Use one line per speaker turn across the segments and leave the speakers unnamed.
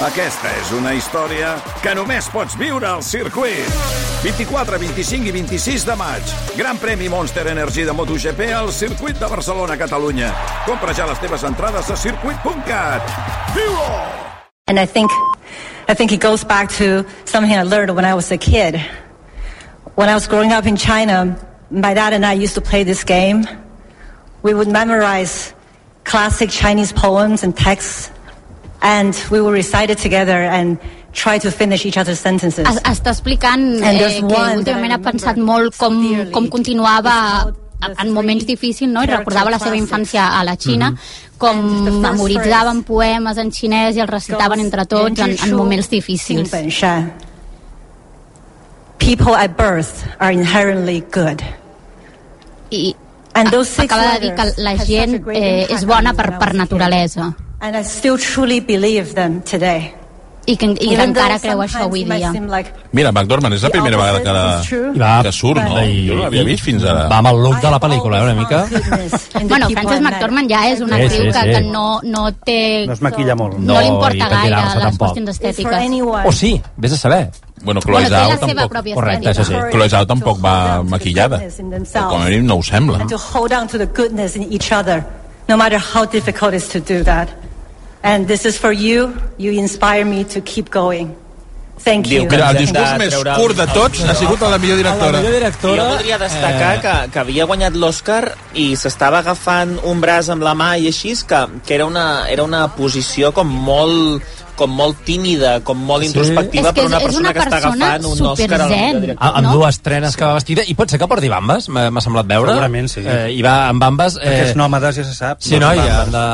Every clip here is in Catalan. Aquesta és una història que només pots viure al circuit. 24, 25 i 26 de maig. Gran premi Monster Energy de MotoGP al circuit de Barcelona, Catalunya. Compra ja les teves entrades a circuit.cat. Viu-ho!
And I think, I think it goes back to something I learned when I was a kid. When I was growing up in China, my dad and I used to play this game. We would memorize classic Chinese poems and texts, and we would recite it together and try to finish each other's sentences.
Es- Està explicant eh,
And there's
que
one
últimament
that I
ha pensat
remember
molt com,
so dearly.
com continuava
It's about the
en moments
three
difícils, no? I recordava la seva
character Mm-hmm.
infància a la Xina,
And the
com
first
memoritzaven
phrase
poemes en xinès i els recitaven entre tots en, en moments difícils.
People at birth are inherently good.
I
And
a-
those six
acaba de dir que
letters
la
had
gent
such a great
eh,
impact
és bona
on me
per,
when
per
I was a kid.
naturalesa
And I still truly believe them today.
i que, i que
Even though
encara creu això
sometimes
avui
it might
dia.
seem like
Mira, McDormand, és la
The
primera vegada
opposite
que,
is
la,
true.
Clar,
que surt, no?
i-
Jo no l'havia vist fins ara.
Va amb el look
I
de la
have
pel·lícula, eh, una
always
mica.
found goodness in the
Bueno,
people
Frances
I met.
McDormand ja és una
Sí,
actriu
sí,
que,
sí.
que no, no té...
No es maquilla molt.
No,
No,
li importa
i per
gaire
tirar-se
les
tampoc.
qüestions
It's for
estètiques.
anyone.
O Oh, sí, vés a saber.
Bueno,
Bueno,
Chloe
té la
Zhao
seva
tampoc...
pròpia
Correcte,
estètica.
això sí.
Chloe Zhao tampoc va maquillada. O com a mínim no ho sembla.
And to hold on to the goodness in each other, no matter how difficult it is to do that. And this is for you. You inspire me to keep going. Thank
Diu
you.
que-
Mira, el
Hem
discurs
de
més
treure
curt de tots ha sigut a la millor directora.
Jo voldria destacar
Eh.
que, que havia guanyat l'Oscar i s'estava agafant un braç amb la mà i així, que, que era, una, era una posició com molt com molt tímida, com molt introspectiva
És que
per una
és- és
persona
una
que està
persona
agafant un Òscar a la
superzen.
millor directora.
A, amb
No?
no? dues trenes que va vestida i pot ser que porti bambes, m'ha m'ha semblat veure
Segurament, sí.
eh, i va amb bambes eh,
Aquests nòmades ja se sap.
sí, no, i amb de...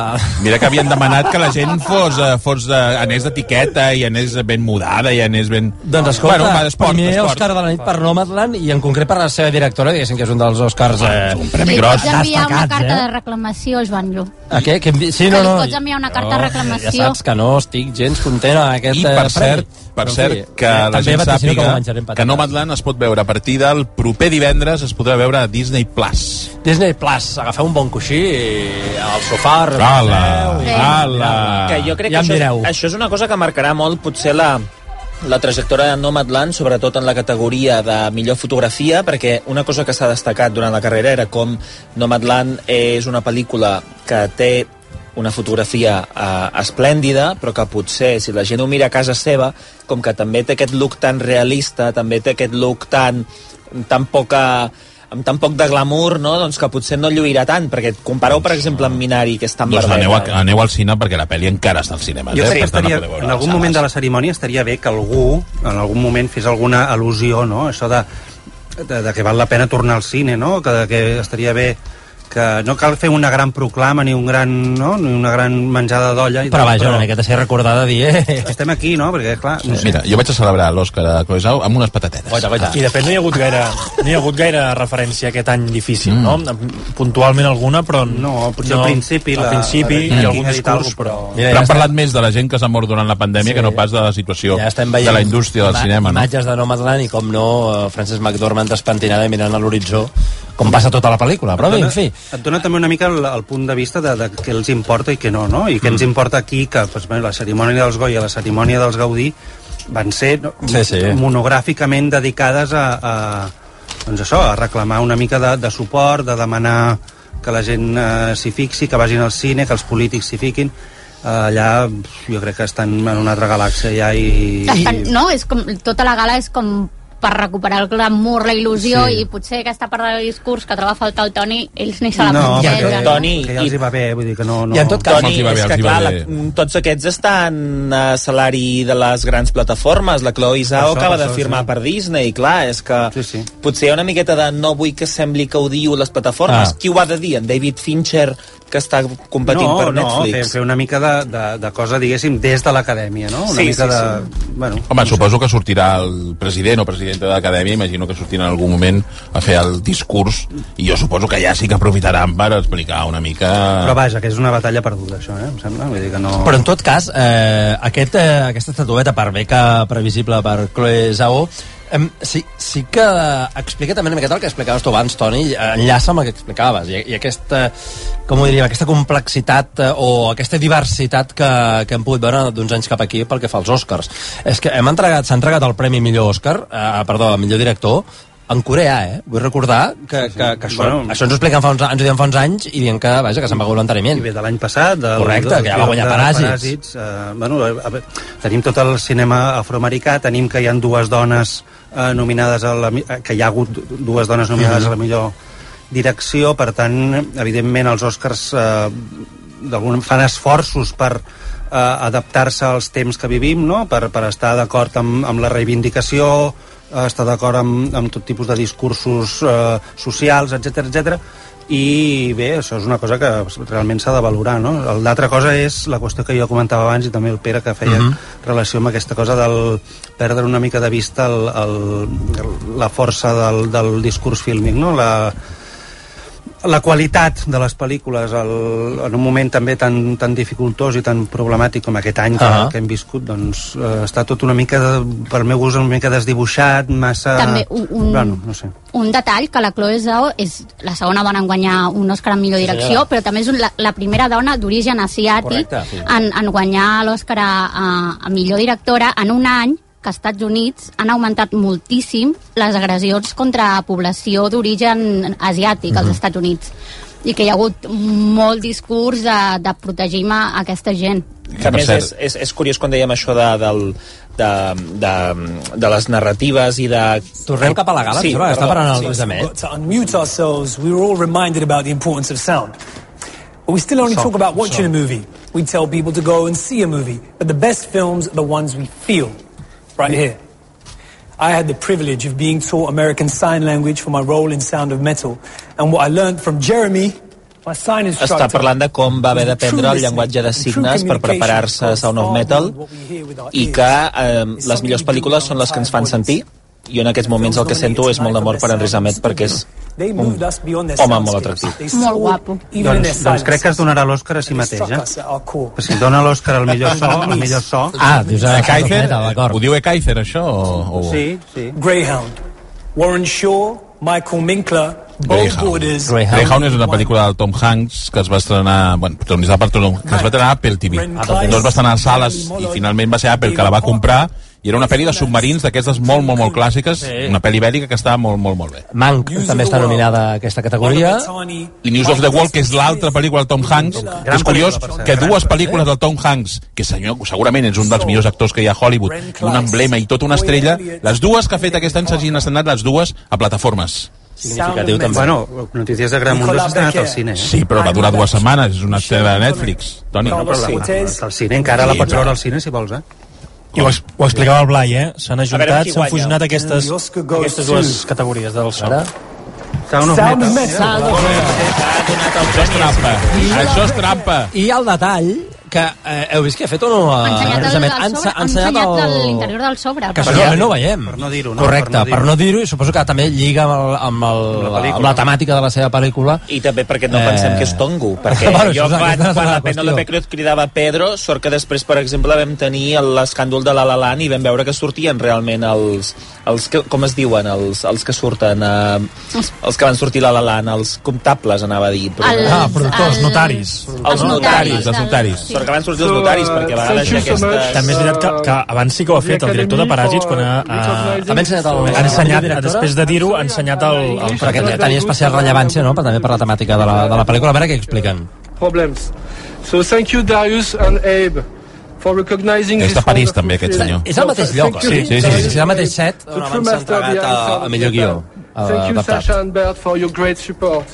Mira que havien demanat que la gent fos, eh, fos de, anés d'etiqueta i anés ben mudada i anés ben...
Doncs escolta,
bueno, va, d'esport,
primer
d'esport.
Òscar de la nit per Nomadland i en concret per la seva directora, diguéssim que és un dels Òscars...
Ah,
Eh, un
Li pots enviar una
destacats,
carta
eh?
de reclamació al Joan Lluc.
A què? Que, envi- sí, no,
Que li
no.
pots enviar una carta de
Jo,
reclamació.
Ja saps que no estic gens content amb aquest
I
eh,
per
premi.
cert, per
Però,
cert,
sí,
que
eh,
la
també
gent
vaticino que
sàpiga
m'ho menjaré amb
que
patates.
Nomadland es pot veure a partir del proper divendres, es podrà veure a Disney Plus.
Disney Plus, agafeu un bon coixí i al sofà...
Ala,
relaxeu i-
ala.
que jo crec
Ah, ja em
que això,
direu.
és- això és una cosa que marcarà molt potser la, la trajectòria de Nomadland, sobretot en la categoria de millor fotografia, perquè una cosa que s'ha destacat durant la carrera era com Nomadland és una pel·lícula que té una fotografia eh, esplèndida, però que potser, si la gent ho mira a casa seva, com que també té aquest look tan realista, també té aquest look tan, tan poca amb tan poc de glamour, no? doncs que potser no lluirà tant, perquè compareu, per exemple, amb Minari, que és tan
Doncs
barbeta.
aneu, a, aneu al cine perquè la pel·li encara està al cinema.
Jo
eh?
crec que
Per tant,
estaria,
la podeu veure
en
a
algun
les
moment de
sales.
la cerimònia estaria bé que algú en algun moment fes alguna al·lusió, no? Això de, de, de que val la pena tornar al cine, no? Que, de, que estaria bé que no cal fer una gran proclama ni un gran, no? ni una gran menjada d'olla. i
Però
tal,
vaja, una miqueta ser recordada eh? dient...
Estem aquí, no? Perquè, clar, no sé.
Doncs Mira, jo vaig a celebrar l'Òscar a Chloe Zhao amb unes patatetes.
Vaja, vaja.
I de fet no hi ha hagut gaire, no hi ha hagut gaire referència a aquest any difícil, mm. no? Puntualment alguna, però...
No, potser al principi
Al
la-
principi,
la-
i algun
la-
discurs, però...
Mira,
Però
ja
han
estem-
parlat més de la gent que s'ha mort durant la pandèmia
Sí.
que no pas de la situació
Ja estem veient
de la indústria del
ima-
cinema, no?
Imatges de Nomadland i com no, eh, Frances McDormand despentinada i mirant a l'horitzó, com passa tota la pel·lícula. Però bé, en fi,
Et dona també una mica el, el punt de vista de, de què els importa i què no, no? I què
Mm.
ens importa aquí, que pues, bé, la cerimònia dels Goya, la cerimònia dels Gaudí, van ser no,
Sí, sí.
monogràficament dedicades a, a, doncs això, a reclamar una mica de, de suport, de demanar que la gent eh, s'hi fixi, que vagin al cine, que els polítics s'hi fiquin. Eh, allà jo crec que estan en una altra galàxia ja i...
Estan, no, és com, tota la gala és com per recuperar el glamour, la il·lusió sí. i potser aquesta part del discurs que troba a faltar el Toni, ells ni se la
No,
plantegen,
perquè,
no?
Toni,
Toni,
que ja els hi va bé, vull dir que no... no.
I en tot cas,
Toni,
Toni,
els hi va bé,
és
els
que
hi va
clar, la,
bé.
mm, tots aquests estan a salari de les grans plataformes. La Chloe Zhao
això,
acaba
per
de
això,
firmar
sí.
per Disney, clar, és que
Sí, sí.
potser hi ha una miqueta de no vull que sembli que odio les plataformes.
Ah.
Qui ho ha de dir? En David Fincher, que està competint
no,
per
No, fer,
Netflix.
fer una mica de, de, de cosa, diguéssim, des de l'acadèmia, no? Una
Sí,
mica
sí,
de... Sí. Bueno,
Home, suposo que sortirà el president o presidenta de l'acadèmia, imagino que sortirà en algun moment a fer el discurs, i jo suposo que ja sí que aprofitaran per explicar una mica...
però vaja, que és una batalla perduda, això, eh? Em sembla, vull dir que no...
Però en tot cas, eh, aquest, eh, aquesta estatueta, per bé que previsible per Chloe Zhao, Em, sí, sí que explica també una miqueta el que explicaves tu abans, Toni, enllaça amb el que explicaves, i, i aquesta, com ho diríem, aquesta complexitat eh, o aquesta diversitat que, que hem pogut veure d'uns anys cap aquí pel que fa als Oscars. És que hem entregat, s'ha entregat el Premi Millor Oscar, eh, perdó, millor director, en coreà, eh? Vull recordar que, que, que això, bueno,
Bueno.
això ens ho expliquen fa uns, ens ho diuen fa uns anys i dient que, vaja, que se'n va voluntàriament.
I ve de l'any passat. Del,
Correcte,
del
que ja va guanyar
de
Paràsits.
Paràsits eh, bueno, a, a, veure, tenim tot el cinema afroamericà, tenim que hi han dues dones eh, nominades a la... mi- eh, que hi ha hagut dues dones nominades
Mhm.
a la millor direcció, per tant, evidentment, els Oscars eh, d'algun fan esforços per eh, adaptar-se als temps que vivim, no? per, per estar d'acord amb, amb la reivindicació, eh, estar d'acord amb, amb tot tipus de discursos eh, socials, etc etc. I bé, això és una cosa que realment s'ha de valorar, no? El- L'altra cosa és la qüestió que jo comentava abans i també el Pere que feia relació amb aquesta cosa del perdre una mica de vista el, el, el, la força del, del discurs fílmic, no? La, la qualitat de les pel·lícules el, en un moment també tan, tan dificultós i tan problemàtic com aquest any que,
Ahà.
que hem viscut, doncs eh, està tot una mica, de, pel meu gust, una mica desdibuixat, massa...
També un- un-
Eh, Bueno, no sé.
un detall, que la Chloe Zhao és la segona dona en guanyar un Òscar en millor direcció,
senyora.
però també és un- la, la primera dona d'origen asiàtic
Correcte, sí.
en, en guanyar l'Òscar a, a, a millor directora en un any que als Estats Units han augmentat moltíssim les agressions contra població d'origen asiàtic als Estats Units i que hi ha hagut molt discurs de, de protegir a aquesta gent.
que a
per
més
cert-
és, és, és curiós quan dèiem això de, del, de, de, de les narratives i de...
Tornem cap a la gala, sí, em sembla que està parant el Lluís Amet.
But to unmute ourselves, we were all reminded about the importance of sound. But we still only talk about watching a movie. We tell people to go and see a movie. But the best films are the ones we feel, right here. I had the privilege of being taught American Sign Language for my role in Sound of Metal. And what I learned from Jeremy, my sign instructor...
Està parlant de com va haver d'aprendre el
True
llenguatge de
listening.
signes per preparar-se a Sound of Metal i que eh, les millors pel·lícules són les que ens fan sentir i jo en aquests moments el que sento és molt d'amor per Enric Zamet perquè és un home molt atractiu.
Molt guapo.
Doncs, doncs crec que es donarà l'Òscar a si mateix, eh? Però Si dona l'Òscar al millor so, al millor so...
Ah, dius a
Eh, Kaiser,
Kaiser,
ho
d'acord.
diu Ekaizer, això? O, o...
Sí, sí.
Greyhound, Warren Shaw, Michael Minkler, both
Greyhound.
borders.
Greyhound.
Greyhound és una pel·lícula del Tom Hanks que es va estrenar, bueno, protagonitzada per Tom Hanks, que es va estrenar a Apple TV.
Ah, també.
Dos doncs va estrenar a sales i finalment va ser Apple que la va comprar i era una pel·li de submarins d'aquestes molt, molt, molt clàssiques, una pel·li bèl·lica que estava molt, molt, molt bé.
Mank també està nominada a aquesta categoria.
I News of the World, que és l'altra pel·lícula del Tom Hanks, que és curiós
pel·lícula, per
que
cert.
dues pel·lícules del Tom Hanks, que senyor, segurament és un dels millors actors que hi ha a Hollywood, i un emblema i tota una estrella, les dues que ha fet aquest any s'hagin estrenat les dues a plataformes.
Significatiu, també.
Bueno, Notícies de Gran Mundo s'ha estrenat al cine. Eh?
Sí, però va durar dues setmanes, és una estrella de Netflix. Toni,
No, però la-
Al cine, encara la pots veure al cine, si vols, eh?
I ho, ex- ho explicava el Blai, eh? S'han
veure qui
ajuntat, s'han
guanya.
fusionat aquestes,
The Oscar goes
aquestes dues
to-
categories del soc.
Ara,
Sound of
Sound of
Metal.
Metal.
això és trampa. Això és trampa.
I el detall que eh, heu vist que ha fet o no?
Ha ensenyat, el,
Precisament,
el,
ha ense-
sobre,
ha
ha ensenyat
ensenyat el-
l'interior del sobre.
Que
però-
això no, no ho veiem.
Per no dir-ho, no?
Correcte,
Per no dir-ho.
per no dir-ho, i suposo que també lliga amb, el, amb, el,
la
la
pel·lícula.
amb la temàtica de la seva pel·lícula.
I també perquè no pensem
Eh.
que és tongo, perquè
Bueno,
bueno, jo
això és-
quan,
aquesta és
quan
la
la Penélope
qüestió.
Cruz cridava Pedro, sort que després, per exemple, vam tenir l'escàndol de la La Land i vam veure que sortien realment els... els que, com es diuen? Els, els que surten... Eh, els que van sortir a La La Land, els comptables, anava a dir. Però,
Els-
Ah, productors, notaris.
Els notaris,
els notaris.
Sí.
Sort que van sortir els notaris, perquè a vegades hi ha aquestes...
També és veritat que, que abans sí que ho ha fet el director de Paràsits quan ha, ha,
També ha ensenyat el...
ha ensenyat,
directora?
després de dir-ho, ha ensenyat el, el
Però que te- tenia especial rellevància, no?, per, també per la temàtica de la, de la pel·lícula. A veure què expliquen.
problems. So thank you, Darius and Abe, for recognizing
És de
this
París,
wonderful
també, aquest
film.
senyor.
És el mateix lloc,
Thank you,
sí, sí, sí,
Darius
sí, és el mateix set
The
on
true
abans s'ha
master
entregat a,
behind
a millor guió. a-
Thank you,
adaptat.
Sasha and Bert, for your great support.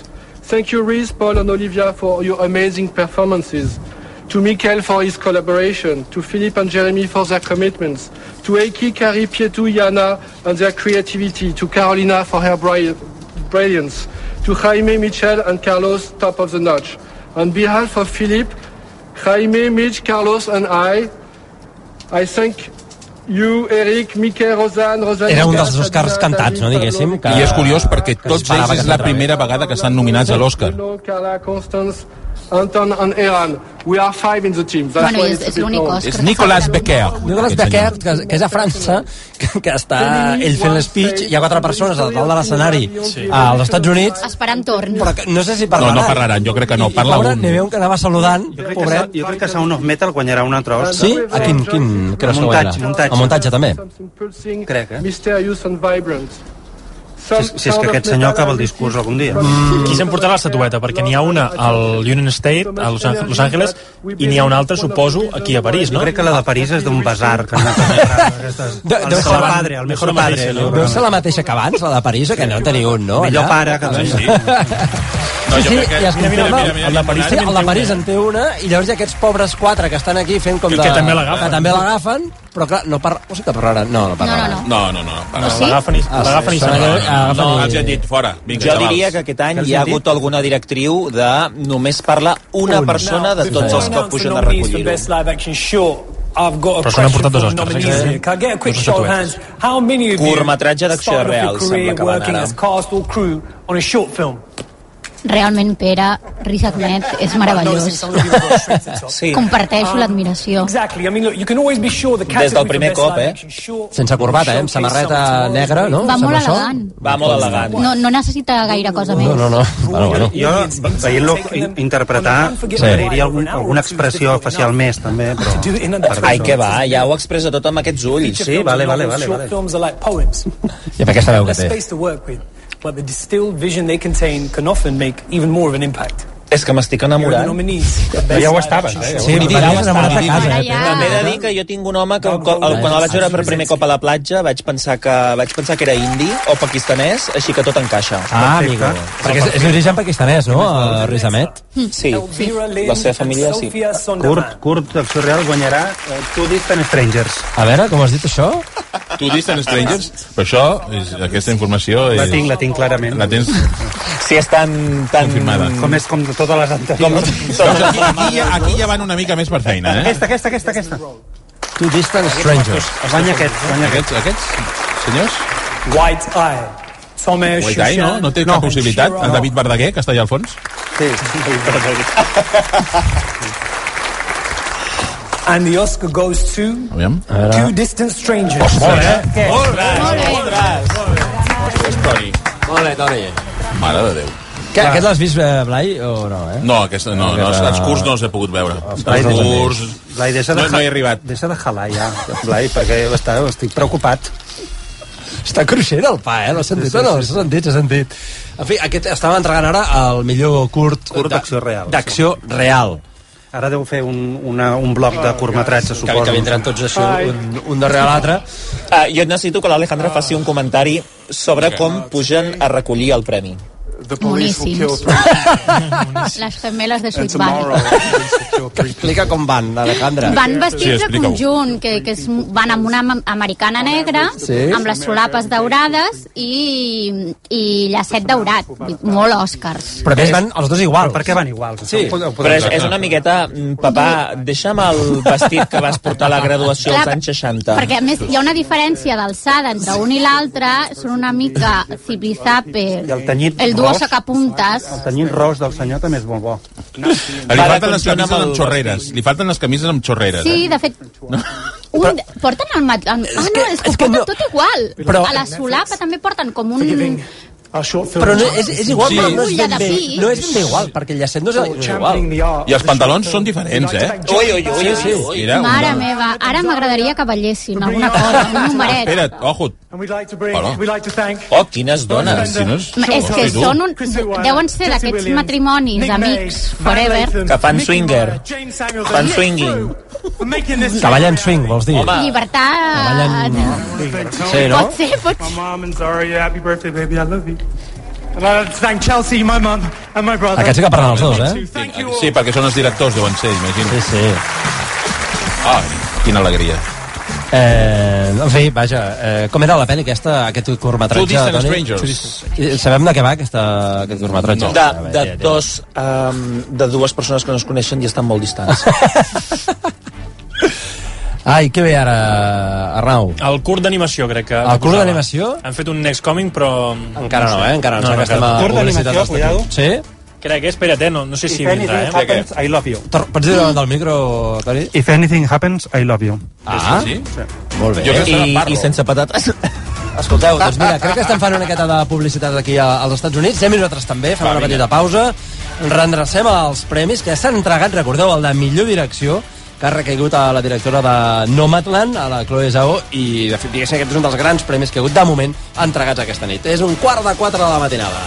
Thank you, Reese, Paul, and Olivia, for your amazing performances. To Michael for his collaboration, to Philip and Jeremy for their commitments, to Eiki, Kari, Pietu, Yana and their creativity, to Carolina for her bri- brilliance, to Jaime, Michel and Carlos, top of the notch. On behalf of Philip, Jaime, Mitch, Carlos and I, I thank you, Eric, Miquel, Rosanne, Rosalie...
Era un dels Oscars cantats, no, diguéssim, que-
I és curiós perquè
Que
tots
s'esperava
ells
que
és la
s'entrava. eh?
primera vegada que estan nominats a l'Òscar.
Carla, Constance, Anton and Eran. We are five in the team. That's
Bueno,
why
i és-
it's a
és
bit
l'únic
long.
Òscar
És
que fa
Nicolas
Catalunya.
Becker.
Nicolas
Aquest
Becker,
senyor.
que, que és a França, que, que està... Ell fent l'espeech, hi ha quatre persones a dalt de l'escenari
Sí.
als Estats Units,
Esperant torn.
però que, no sé si
No,
parlaran.
no parlaran, jo crec que no.
I,
Parla
i pobre,
un.
N'hi havia un que anava saludant,
Jo crec, que,
pobret.
jo crec que Sound of Metal guanyarà un altre Oscar.
Sí? A quin, quin crossover era?
Muntatge, muntatge.
El muntatge també.
Something pulsing,
Crec, eh?
mysterious and vibrant.
Si és- si és que aquest senyor acaba el discurs algun dia.
Mm. Qui s'emportarà l'estatueta? Perquè n'hi ha una al Union State, a Los, Los Angeles, i n'hi ha una altra, suposo, aquí a París,
Jo
no?
crec que la de París és d'un basar. Que han anat a comprar aquestes-
De-
el
deu ser
mejor
la-
padre, el mejor
deu ser la
padre.
mateixa,
no?
no?
Deu ser la mateixa que abans, la de París, o que no en teniu un, no?
Millor
allà?
pare que
Sí, sí.
No, sí, sí,
crec que-
i es
mira, mira,
confirma,
mira, mira,
el de París,
mira, mira,
el de París
mira.
en té una, i llavors hi ha aquests pobres quatre que estan aquí fent com
Que-
de...
que també l'agafen.
Que també l'agafen, però clar, no parla... O sigui que parlaran, no, no
No, no,
parlaran.
no.
No, no, no.
O
Parla.
sí?
L'agafen i, l'agafen i
sí,
se'n
sí.
van.
Ah,
No,
agafa-
els hi han dit fora. Vinga,
Jo
xavals.
diria que aquest any
Què els
hi ha
han dit?
hagut alguna directriu de només parla una
Un.
persona de tots
Sí.
els que
Announce the
pugen a
nominees for
recollir-ho.
best live action short. I've got a
Però se n'han
question for
portat dos
the
Oscars,
nominees
eh?
here. Can I get a quick
Dos
show of
estatuetes.
hands? How many of you
Curtmetratge d'acció
started off your
real,
career
sembla que van
working
ara.
as cast or crew on a short film?
Realment, Pere, Riz Ahmed és
Noticing
meravellós.
some of you have got straight to the top.
Sí.
Comparteixo l'admiració.
Exactly. I mean, look, you can always be sure the
Des del
category for
primer
best
cop,
live
eh?
action short
Sense corbata, eh? Amb
showcase
samarreta
someone's
negra, no?
Va molt
Sembla això?
elegant.
Va molt elegant.
No, no necessita gaire cosa més.
No, no, no. Bueno, bueno.
Jo, veient-lo in- interpretar,
Sí.
preferiria algun, alguna expressió facial més, també, però...
Do it in and
per
out.
Ai,
això.
que va, ja ho expressa tot amb aquests ulls.
Feature
Sí,
films
vale,
and
vale,
novels,
vale,
Short
vale.
films are like poems.
I amb aquesta veu que
Less
té.
space to work with, but the distilled vision they contain can often make even more of an impact.
Ah,
És que m'estic
Here are the
enamorant.
nominees. for Best
Ja ho
Live
estaves,
Action
eh?
Short.
Sí,
Ni
mi pare
tirava
és enamorat de
estava.
casa.
Ara
eh?
ja...
També he de dir que jo tinc un home que quan, quan el vaig veure per primer cop a la platja vaig pensar que vaig pensar que era indi o pakistanès, així que tot encaixa.
Ah, amigo.
Perfecte.
Perquè és, és d'origen pakistanès, no? El Riz Ahmed.
Sí,
Elvira Lind
la seva família
and
sí.
Sophia
Curt,
Sonderman.
curt, acció real, guanyarà eh, Two Distant Strangers.
A veure, com has dit això?
Tu distant strangers? Però això, és, aquesta informació... És...
La tinc, la tinc clarament.
La tens...
Si és tan... tan...
Confirmada.
Com és com de totes les
Com...
anteriors.
Doncs aquí, aquí, ja, aquí ja van una mica més per feina, eh?
Aquesta, aquesta, aquesta, aquesta.
Two Distant Strangers.
Guanya aquest, guanya aquest.
Aquests, aquests senyors?
White Eye. Tomer
Guaitai, no? No té cap possibilitat? El David Verdaguer, que està allà al fons?
And the Oscar goes to
Aviam.
Two Distant Strangers.
Toni.
Molt bé, Toni.
Mare de Déu.
Que, aquest l'has vist, eh, Blai, o no, eh?
No, aquesta, no, no, els curts no els he pogut veure. Els
Blai, deixa-
curts...
Blai, deixa de,
No, no he arribat.
Deixa de jalar ja, Blai, perquè està, estic preocupat.
Està cruixent el pa, eh? L'has sentit o no? S'ha sentit, s'ha sentit. En fi, aquest, estàvem entregant ara el millor curt...
Curt
de-
d'acció real,
D'acció real.
Ara deu fer un, una, un bloc de curtmetratge,
Que,
suposo.
que vindran tots això, un, un darrere l'altre.
Ah, jo necessito que l'Alejandra
Ah.
faci un comentari sobre com pugen a recollir el premi.
Moníssims. Les gemeles de Sweet Valley.
Que explica com van, Alejandra.
Van vestits
Sí,
de
explica-ho.
conjunt, que, que és, van amb una am- americana negra,
Sí.
amb les solapes daurades i, i llacet daurat. Molt Oscars.
Però a més van els dos igual.
Però per què van iguals? Sí.
Però és, és una miqueta... mm, Papà, deixa'm el vestit que vas portar a la graduació als
Clar,
anys 60.
Perquè, a més, hi ha una diferència d'alçada entre un i l'altre, són una mica ziplizape,
I el tenyit
el duo
ros?
sacapuntes,
El tenyit ros del senyor també és molt bo.
Li
Ara
falten les
funciona
camises
amb el
amb xorreres. Li falten les camises amb xorreres. eh?
Sí, de fet, un, porten el mat... Ah, no, és que,
és
ho
que
porten
no-
tot igual.
però-
a la solapa també porten com un...
Our short film.
Però no, és, és igual,
Sí.
però no és
Una
ben bé,
d'ací.
no és ben bé igual, perquè el llacet no és no és igual.
I els pantalons són diferents, eh?
Ui, ui, ui, ui, ui.
Mira, un
Mare
de-
meva, ara m'agradaria que ballessin alguna cosa, un numeret.
Espera't, ojo.
And we'd like to bring,
Hola.
we'd like to thank
Oh, quines dones.
Si no és...
Ma- És que
Sí, tu.
són un...
Chrissy Wilde,
Deuen ser
Jesse
d'aquests
Williams,
matrimonis,
Nick
amics,
Mace,
forever,
Van
Que fan
Nathan,
swinger.
Nicky Moore, James Samuels,
Fan
and Nick
swinging.
Drew for making this
Que ballen swing, vols dir?
Home,
llibertat...
Sí, no?
Pot ser, pot ser.
Mom and Zaria, happy birthday, baby. I love you. And I'd like to thank Chelsea, my mum, and my brother.
Aquests sí que parlen els dos, eh?
Thank you all.
Sí, perquè són els directors, deuen ser, imagino.
Sí, sí.
Ah, quina alegria.
Eh, en fi, vaja, eh, com era la pel·li aquesta, aquest curtmetratge?
Two Distant
Toni?
Strangers.
Two Distant- I Sabem de què va aquesta, aquest curtmetratge?
de, de, dos, um, de dues persones que no es coneixen i estan molt distants.
Ai, que bé ara, Arnau.
Ah.
El curt d'animació, crec que...
El curt d'animació?
Han fet un Next Coming, però...
Encara no, eh? Encara no, no, no
No, no,
que estem a
encara no.
Curt d'animació,
publicitat dels Estats Units. Sí?
Crec que, espera't, eh? no, no sé si
If
vindrà,
anything
eh?
happens, I love you.
Tor- Pots dir davant del micro, Toni?
If anything happens, I love you.
Ah,
Sí?
molt bé.
Jo crec que
I,
parlo.
i sense patates.
Escolteu, doncs mira, crec que estem fent una miqueta de publicitat aquí a- als Estats Units. Anem nosaltres també, fem
Va,
una
vinga.
petita pausa. Rendrecem els premis que s'han entregat, recordeu, el de millor direcció, que ha recaigut a la directora de Nomadland, a la Chloe Zhao, i de fet, diguéssim, aquest és un dels grans premis que hi ha hagut de moment entregats aquesta nit. És un quart de quatre de la matinada.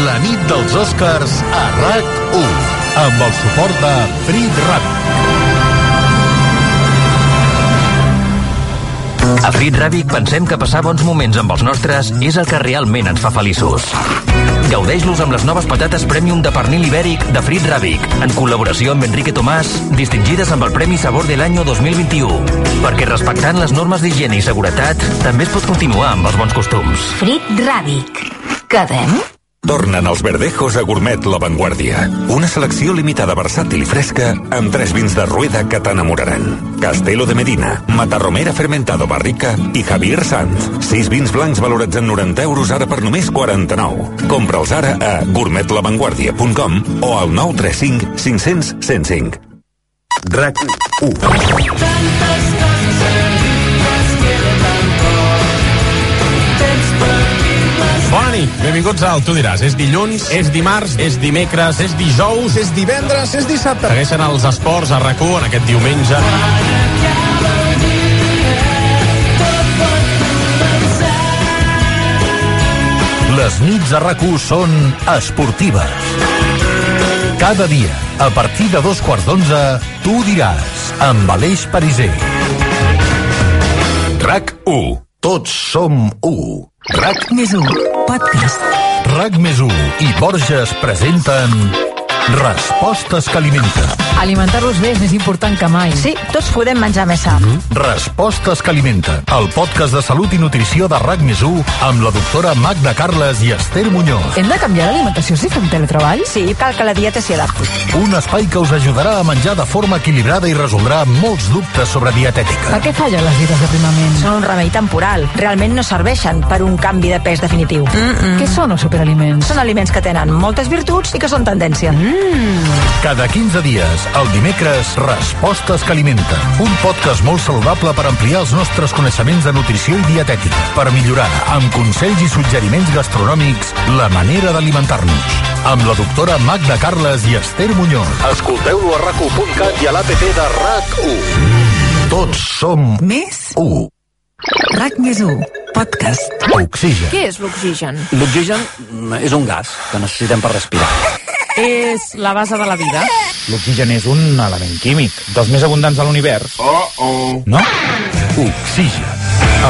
La nit dels Oscars a RAC1 amb el suport de Free Ràdio.
A Frit Ràbic pensem que passar bons moments amb els nostres és el que realment ens fa feliços. Gaudeix-los amb les noves patates Premium de pernil ibèric de Frit Ràbic, en col·laboració amb Enrique Tomàs, distingides amb el Premi Sabor de l'any 2021. Perquè respectant les normes d'higiene i seguretat, també es pot continuar amb els bons costums.
Frit Ràbic. Quedem?
Tornen els verdejos a Gourmet La Vanguardia. Una selecció limitada, versàtil i fresca, amb tres vins de rueda que t'enamoraran. Castelo de Medina, Matarromera Fermentado Barrica i Javier Sanz. Sis vins blancs valorats en 90 euros ara per només 49. Compra'ls ara a gourmetlavanguardia.com o al 935 500 105. RAC 1.
Bona nit, benvinguts al Tu diràs. És dilluns, és dimarts, és dimecres, és dijous, és divendres, és dissabte. Segueixen els esports a rac en aquest diumenge.
Les nits a rac són esportives. Cada dia, a partir de dos quarts d'onze, tu diràs, amb Aleix Pariser. RAC 1. Tots som 1. RAC
Més un podcast.
RAC més 1 i Borges presenten Respostes que alimenten.
Alimentar-los bé és més important que mai.
Sí, tots podem menjar més sa. Mm
Mm-hmm. Respostes que alimenten. El podcast de salut i nutrició de RAC més 1 amb la doctora Magda Carles i Esther Muñoz.
Hem de canviar l'alimentació si fem teletreball?
Sí, cal que la dieta s'hi adapti.
Un espai que us ajudarà a menjar de forma equilibrada i resoldrà molts dubtes sobre dietètica.
Per què fallen les dietes de primament?
Són un remei temporal. Realment no serveixen per un canvi de pes definitiu. Mm -mm.
Què són els superaliments?
Són aliments que tenen moltes virtuts i que són tendència.
Cada 15 dies, el dimecres, Respostes que alimenten. Un podcast molt saludable per ampliar els nostres coneixements de nutrició i dietètica, per millorar, amb consells i suggeriments gastronòmics, la manera d'alimentar-nos. Amb la doctora Magda Carles i Esther Muñoz. Escolteu-lo a rac1.cat i a l'APP de RAC1. Tots som
Més
1.
RAC més 1. Podcast.
Oxigen.
Què és l'oxigen?
L'oxigen és un gas que necessitem per respirar.
És la base de la vida.
L'oxigen és un element químic, dels més abundants de l'univers.
No? Oxigen,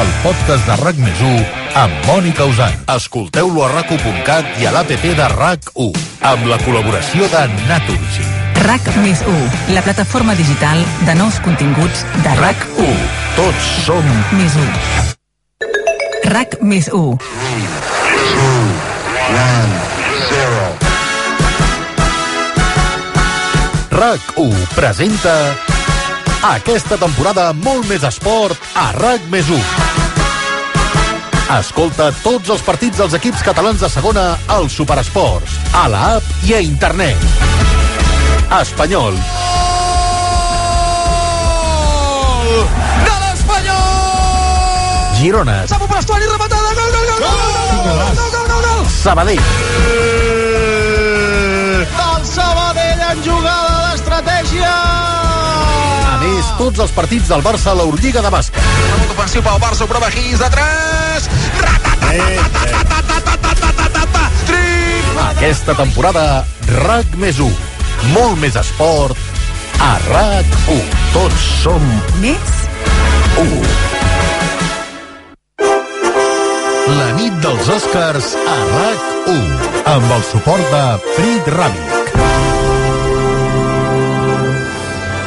el podcast de RAC1 amb Mònica Usant. Escolteu-lo a rac1.cat i a l'APP de RAC1 amb la col·laboració de Naturgy.
RAC més 1, la plataforma digital de nous continguts de
RAC1, tots som...
més 1. RAC més 1.
RAC1 presenta aquesta temporada molt més esport a RAC1. Escolta tots els partits dels equips catalans de segona al Superesports, a la app i a internet. Espanyol,
Gol! De l'Espanyol!
Girona,
Samu Pastuani, rematada, gol, gol, gol, gol, gol, gol, gol, gol, gol, gol,
Sabadell.
gol! Eh, El Sabadell en jugada d'estratègia!
A més, tots els partits del Barça a l'Eurolliga de bàsquet.
Molt ofensiu pel Barça, però Bajís de 3!
Aquesta temporada, RAC més 1. Molt més esport a RAC 1. Tots som
Més
1. La nit dels Oscars a RAC 1. Amb el suport de Frit Ràbic.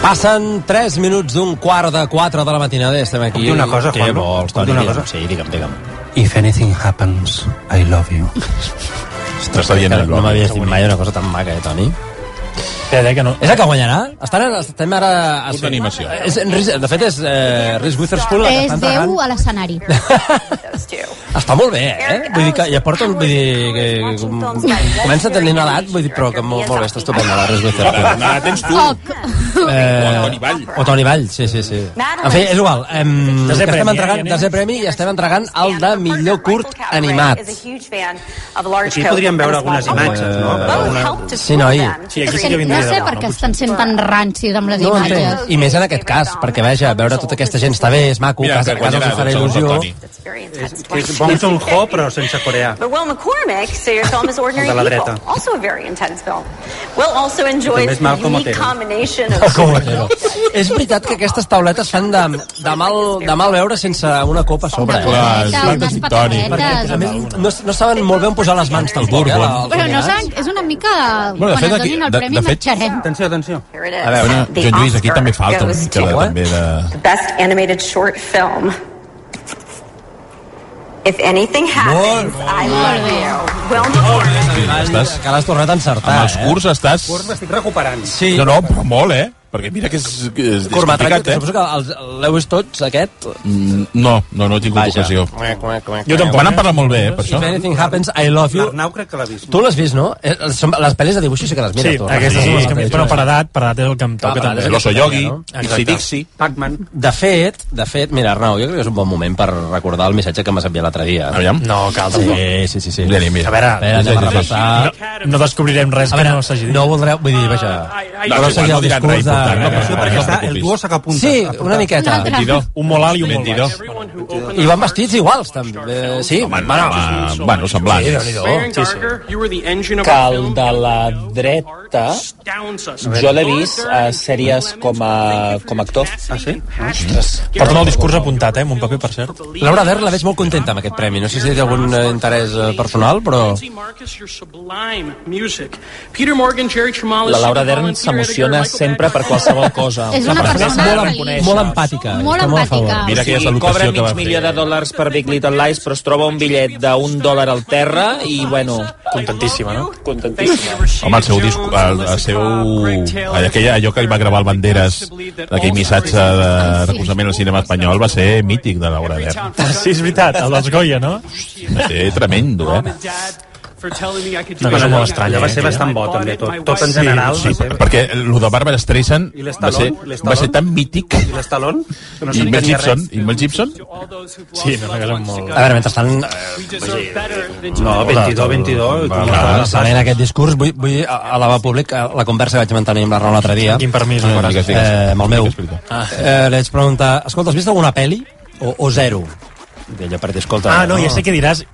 Passen 3 minuts d'un quart de 4 de la matinada i estem aquí.
Puc dir una cosa,
Què
Juanma?
vols,
Puc dir
Toni?
una
Digue'm.
cosa?
Sí, digue'm, digue'm.
If anything happens, I love you.
Ostres, està dient
Que
el
no
Bob.
m'havies dit mai una cosa tan maca, eh, Toni?
Espera, eh, que no...
És el que guanyarà? Estan, estem ara... Curs
d'animació.
És, Reese- de fet, és eh, Reese Witherspoon la que
És
està entregant.
Déu a l'escenari.
Està molt bé, eh? Vull dir que ja porta... un- Vull dir que com- comença tenint edat, vull dir, però que molt, molt bé, està estupenda la Reese Witherspoon.
Ah, tens tu.
Eh,
Toni Vall.
O Toni Vall, sí, sí, sí. En fi, és igual. Em,
Desè
que estem
premi, eh,
entregant,
anem.
desè premi i estem entregant el de millor curt animat.
Aquí podríem veure algunes imatges, no?
Alguna... eh, Sí, noi.
Sí, aquí
És que no sé per què estan sent tan rancis amb les
No ho
imatges.
entenc. I més en aquest cas, perquè, vaja, veure tota aquesta gent està bé, és maco,
Mira,
casa, a
que
casa els
guanyarà,
farà
doncs, el
il·lusió.
Toni. És Bong Joon-ho, però sense coreà.
But Will McCormick, so you're film is ordinary
De la
people,
dreta.
also a very intense film. Will also enjoys
També és
the
Malcolm
unique
Otero.
combination of
Com ho veieu? és veritat que aquestes tauletes fan de, de, mal, de mal veure sense una copa a sobre. Eh?
Clar, és un tònic.
Perquè, a més, no, no saben molt bé on posar les mans del eh? burro.
Però no saben, és una mica...
Bueno, de
quan
fet,
ens
aquí-
donin el
de-
premi
de fet-
marxarem.
Atenció, atenció.
A
veure, Joan Lluís, aquí també falta una
goes
mica de,
to
també de...
the best animated short film. If anything happens, I love you. Will McCormick.
Estàs...
Que l'has tornat a encertar, eh?
Amb els curs estàs...
Estic recuperant.
Sí.
No, no, però molt, eh? Perquè mira que és, que és, és
Curtmetratge,
complicat, eh?
suposo que els- l'heu vist tots, aquest?
Mm, No, no, no he tingut
Vaja.
ocasió.
Jo tampoc.
Van parlar molt bé, eh, per això.
If anything happens, I love you.
L'Arnau crec que l'ha vist.
Tu l'has vist, no? Eh, són- Les pel·lis de dibuixos sí que les mira
Sí,
tu.
aquestes són les que...
sí,
Però
sí.
per edat, per edat és el que em toca també.
Pac-Man.
De fet, de fet, mira, Arnau, jo crec que és un bon moment per recordar el missatge que m'has enviat l'altre dia.
Aviam.
No, cal,
Sí,
tampoc.
sí, sí. sí.
Mira, mira. A veure,
anem a
Ah. sí, sí, sí.
repassar.
No, no descobrirem res
A
que
veure,
no s'hagi dit.
No voldreu, vull dir, vaja...
No, és igual, no diran res important, eh, eh, eh, no
el
preocupis.
duo s'ha que apunta. Sí, una miqueta.
Un mentidor. Un molt alt i un molt baix.
I van vestits iguals, també. Eh, Sí, bueno,
home, bueno, semblants.
Sí, Déu-n'hi-do.
Sí, sí. Que el de la dreta jo l'he vist a sèries com a, com a actor. Ah, sí? Ostres.
Porta el discurs apuntat, eh, amb un paper, per cert.
Laura Dern la veig molt contenta amb aquest premi. No sé si té algun eh, interès eh, personal, però...
La Laura Dern s'emociona sempre per qualsevol cosa.
És una persona
molt
feliç.
em-
Molt empàtica.
Molt
està a favor.
empàtica.
Mira
aquella
sí,
salutació
cobra
que va
mig
fer.
milió de dòlars per Big Little Lies, però es troba un bitllet d'un dòlar al terra i, bueno... Contentíssima, no? Contentíssima.
Home, el seu disc... El, el seu... Aquella, allò que li va gravar el Banderas, aquell missatge de recolzament al cinema espanyol, va ser mític de Laura Dern.
Sí, és veritat, el dels Goya, no?
Va ser tremendo, eh?
Una cosa molt estranya.
eh?
Va ser bastant bo, també, tot. Tot en general.
Sí, sí, perquè el de Barbara Streisand
I
va
l'Estalón?
ser, va ser tan mític
I l'Estalón? Que no
i
s'entenia
Mel Gibson,
res.
i Mel Gibson
Sí, no, no, molt...
A veure, mentrestant... eh,
No, 22, 22.
Clar, sabent aquest discurs, vull, vull elevar al públic eh, la conversa que vaig mantenir amb la Raül l'altre dia.
Quin permís, no?
Digues, digues.
Eh, amb el meu.
Explica, explica.
Ah. Eh, li vaig preguntar, escolta, has vist alguna peli? O, o zero? I ella per dir, escolta...
Ah, no, ja sé què diràs.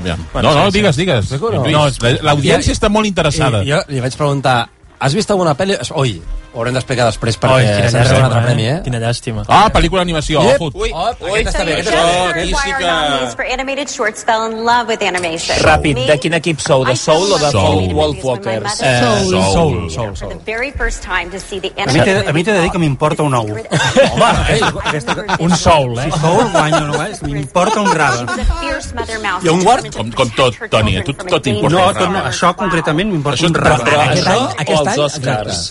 Aviam. No, no, digues, digues. Lluís, la- L'audiència està molt interessada.
I jo li vaig preguntar, has vist alguna pel·li? Oi, ho haurem d'explicar després
Oi,
perquè
quina
se'ns deu un altre
llàstima,
premi, eh?
eh? Quina llàstima.
Ah, pel·lícula d'animació.
Yep.
Oh,
Ui, aquesta està bé,
The
aquesta està bé.
Jones Esquire nominees for animated shorts fell in love with animation.
Ràpid,
Me,
de quin equip sou? De Soul o de
Soul.
Soul. Wolf Walkers?
Eh,
Soul. Soul,
Soul,
for the very first time to see the
A mi t'he
animated
a mi t'he de dir que m'importa un ou.
Home,
eh?
ei,
Un soul, eh?
Si sou, guanyo, no guanyo. M'importa un grava.
She was a fierce mother mouse.
I un guard?
Com, com tot, Toni, a tu tot t'importa.
No,
el
tot no,
drama.
això concretament m'importa un
Però- però
rave.
això
aquest
o els
any,
Oscars?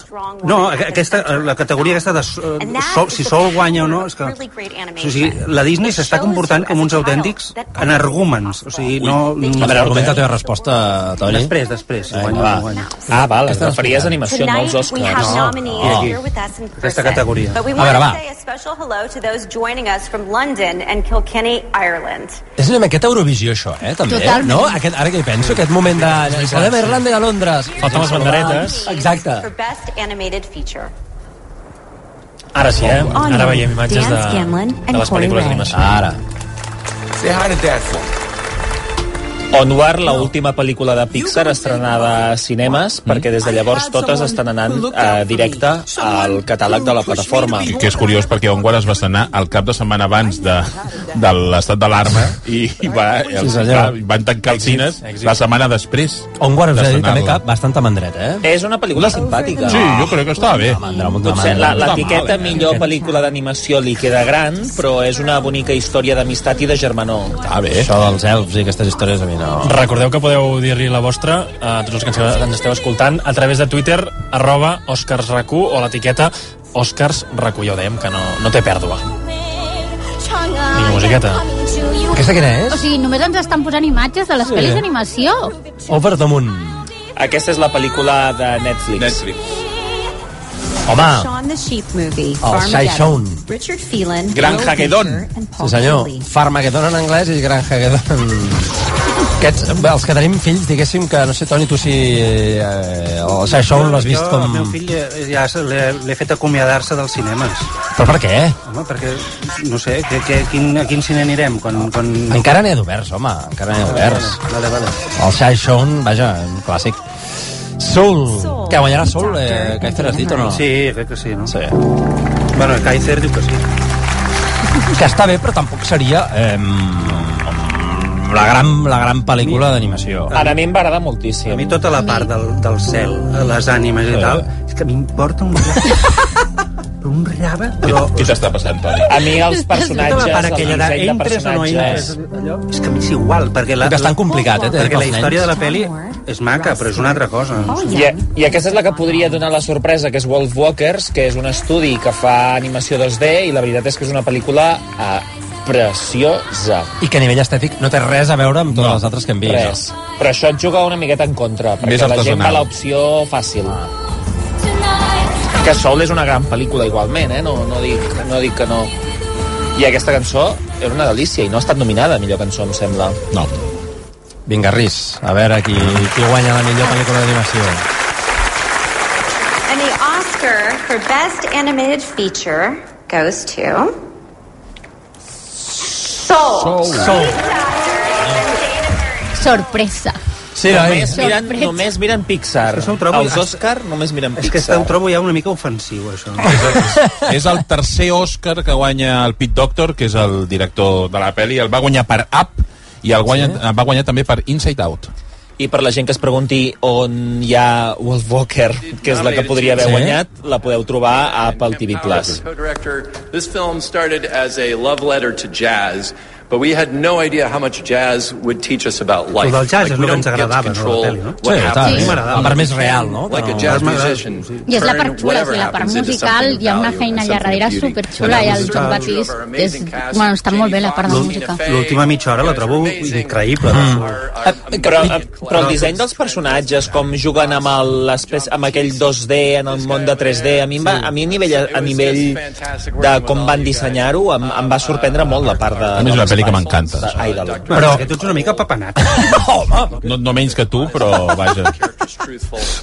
No, a- aquesta, a la categoria aquesta de so- sol, si sol guanya o no, és que... O sigui, la Disney s'està comportant com uns autèntics energúmens. O sigui, no...
A veure, argumenta la teva resposta, Toni.
Després, després. Si guanya,
va.
no guanya.
Ah, val, es
Aquesta
referies a animació, no als
Tonight we have
Oscars.
nominees
No.
here with us in
Aquesta
person.
categoria.
But we
A
want
veure,
to
va.
say a special hello to those joining us from London and Kilkenny, Ireland.
És una miqueta Eurovisió, això, eh, també.
Totalment.
No? Aquest, ara que hi penso, aquest moment de... Anem a Irlanda i a Londres.
Falten les banderetes.
Exacte.
For best animated feature.
Ara sí, eh?
Oh,
Ara veiem imatges de, de les pel·lícules d'animació.
Ara.
Onward, la última pel·lícula de Pixar estrenada a cinemes,
Mm-hmm.
perquè des de llavors totes estan anant eh, directe al catàleg de la plataforma.
I que és curiós perquè Onward es va estrenar el cap de setmana abans de, de l'estat d'alarma i, i va, els,
senyor.
va, van tancar els cines la setmana després.
On guardes ja dit també
d'estrenar-la.
cap bastanta mandreta, eh?
És una pel·lícula simpàtica.
Sí, jo crec que estava bé.
Mandra, molta
Potser
mandra.
la- l'etiqueta millor pel·lícula d'animació li queda gran, però és una bonica història d'amistat i de germanor.
Estava bé.
Això dels elfs i aquestes històries a mi no...
Ah, Recordeu que podeu dir-li la vostra eh, a tots els que ens- ens esteu escoltant a través de Twitter, arroba OscarsRAC1 o l'etiqueta OscarsRAC1. Ja ho dèiem, que no, no té pèrdua. Vinga, musiqueta.
Aquesta quina és?
O sigui, només ens estan posant imatges de
Sí.
les sí. pel·lis d'animació.
O per damunt.
Aquesta és la pel·lícula de Netflix. Netflix.
Home.
Shaun the Sheep movie.
Oh, Shy
Farmageddon.
Shaun.
Richard Phelan. Will
Sí, senyor. Farmageddon en anglès i Gran Hagedon. Aquests, bé, els que tenim fills, diguéssim que, no sé, Toni, tu si eh, el Shy Shaun l'has vist
jo,
com...
El meu fill eh, ja se- l'he l'he fet acomiadar-se dels cinemes.
Però per què?
Home, perquè, no sé, que, que, quin, a quin cine anirem? Quan, quan...
Encara n'hi ha d'oberts, home, encara n'hi ha d'oberts.
Vale, vale.
El Shy Shaun, vaja, un clàssic. Soul. Que guanyarà Soul, eh, Kaiser, has dit o no?
Sí, crec que sí, no?
Sí.
Bueno, el Kaiser diu que sí.
Que està bé, però tampoc seria eh, la, gran, la gran pel·lícula d'animació.
Ara a mi em va agradar moltíssim.
A mi tota la part del, del cel, eh, les ànimes i tal,
Eh.
és que m'importa un rave. però un rave, però...
Què t'està passant, Toni?
A mi els
Tota
personatges,
la part
el
aquella
disseny de
d'entres o no entres...
personatges...
allò, És que m'és igual, perquè la...
És bastant complicat, eh,
Perquè
pels
la història
nens.
de la peli és maca, però és una altra cosa.
I, I aquesta és la que podria donar la sorpresa, que és Wolf Walkers, que és un estudi que fa animació 2D i la veritat és que és una pel·lícula eh, preciosa.
I que a nivell estètic no té res a veure amb totes les altres que hem vist.
Res. Però això et juga una miqueta en contra,
Més
perquè la gent
artesanal.
va a l'opció fàcil. Que Soul és una gran pel·lícula igualment, eh? No, no, dic, no dic que no. I aquesta cançó era una delícia i no ha estat nominada a millor cançó, em sembla.
No. Vinga, Riz, a veure qui, qui guanya la millor pel·lícula d'animació.
And the Oscar for Best Animated Feature goes to Soul.
Soul.
Sorpresa.
Sí,
només,
oi?
miren,
Sorpresa.
només miren Pixar.
això ho trobo-
Els Òscar només miren
És que
Pixar.
ho trobo ja una mica ofensiu, això.
és el tercer Oscar que guanya el Pete Doctor, que és el director de la pel·li. El va guanyar per Up i el guanya, sí? va guanyar també per Inside Out.
I per la gent que es pregunti on hi ha Wolf Walker, que és la que podria haver
Sí?
guanyat, la podeu trobar a Apple TV+. Plus.
co-director. This film started as a love letter to jazz, but we had no idea how much jazz would teach us about life.
El del jazz és
we
el que
don't
ens
get to
agradava, no,
control
la peli, no?
what
Sí,
happens.
sí. m'agradava. La part més real, no?
Like a
No,
jazz
m'agradava.
musician.
I és la
turn
part xula,
whatever
sí, la part
happens into
musical,
something
hi ha una
valuable
feina
and
allà
something
darrere
of beauty.
superxula i el John Batiste és, bueno, està molt bé la part de música.
L'última mitja hora la trobo increïble.
Mm. Però, però el disseny dels personatges, com juguen amb, el, l'espècie- amb aquell 2D en el món de 3D, a mi, em va, a mi a nivell, a nivell de com van dissenyar-ho em, em va sorprendre molt la part de...
A mi és una pel·li que m'encanta.
Però...
Que tu ets una mica papanat.
No, no menys que tu, però vaja.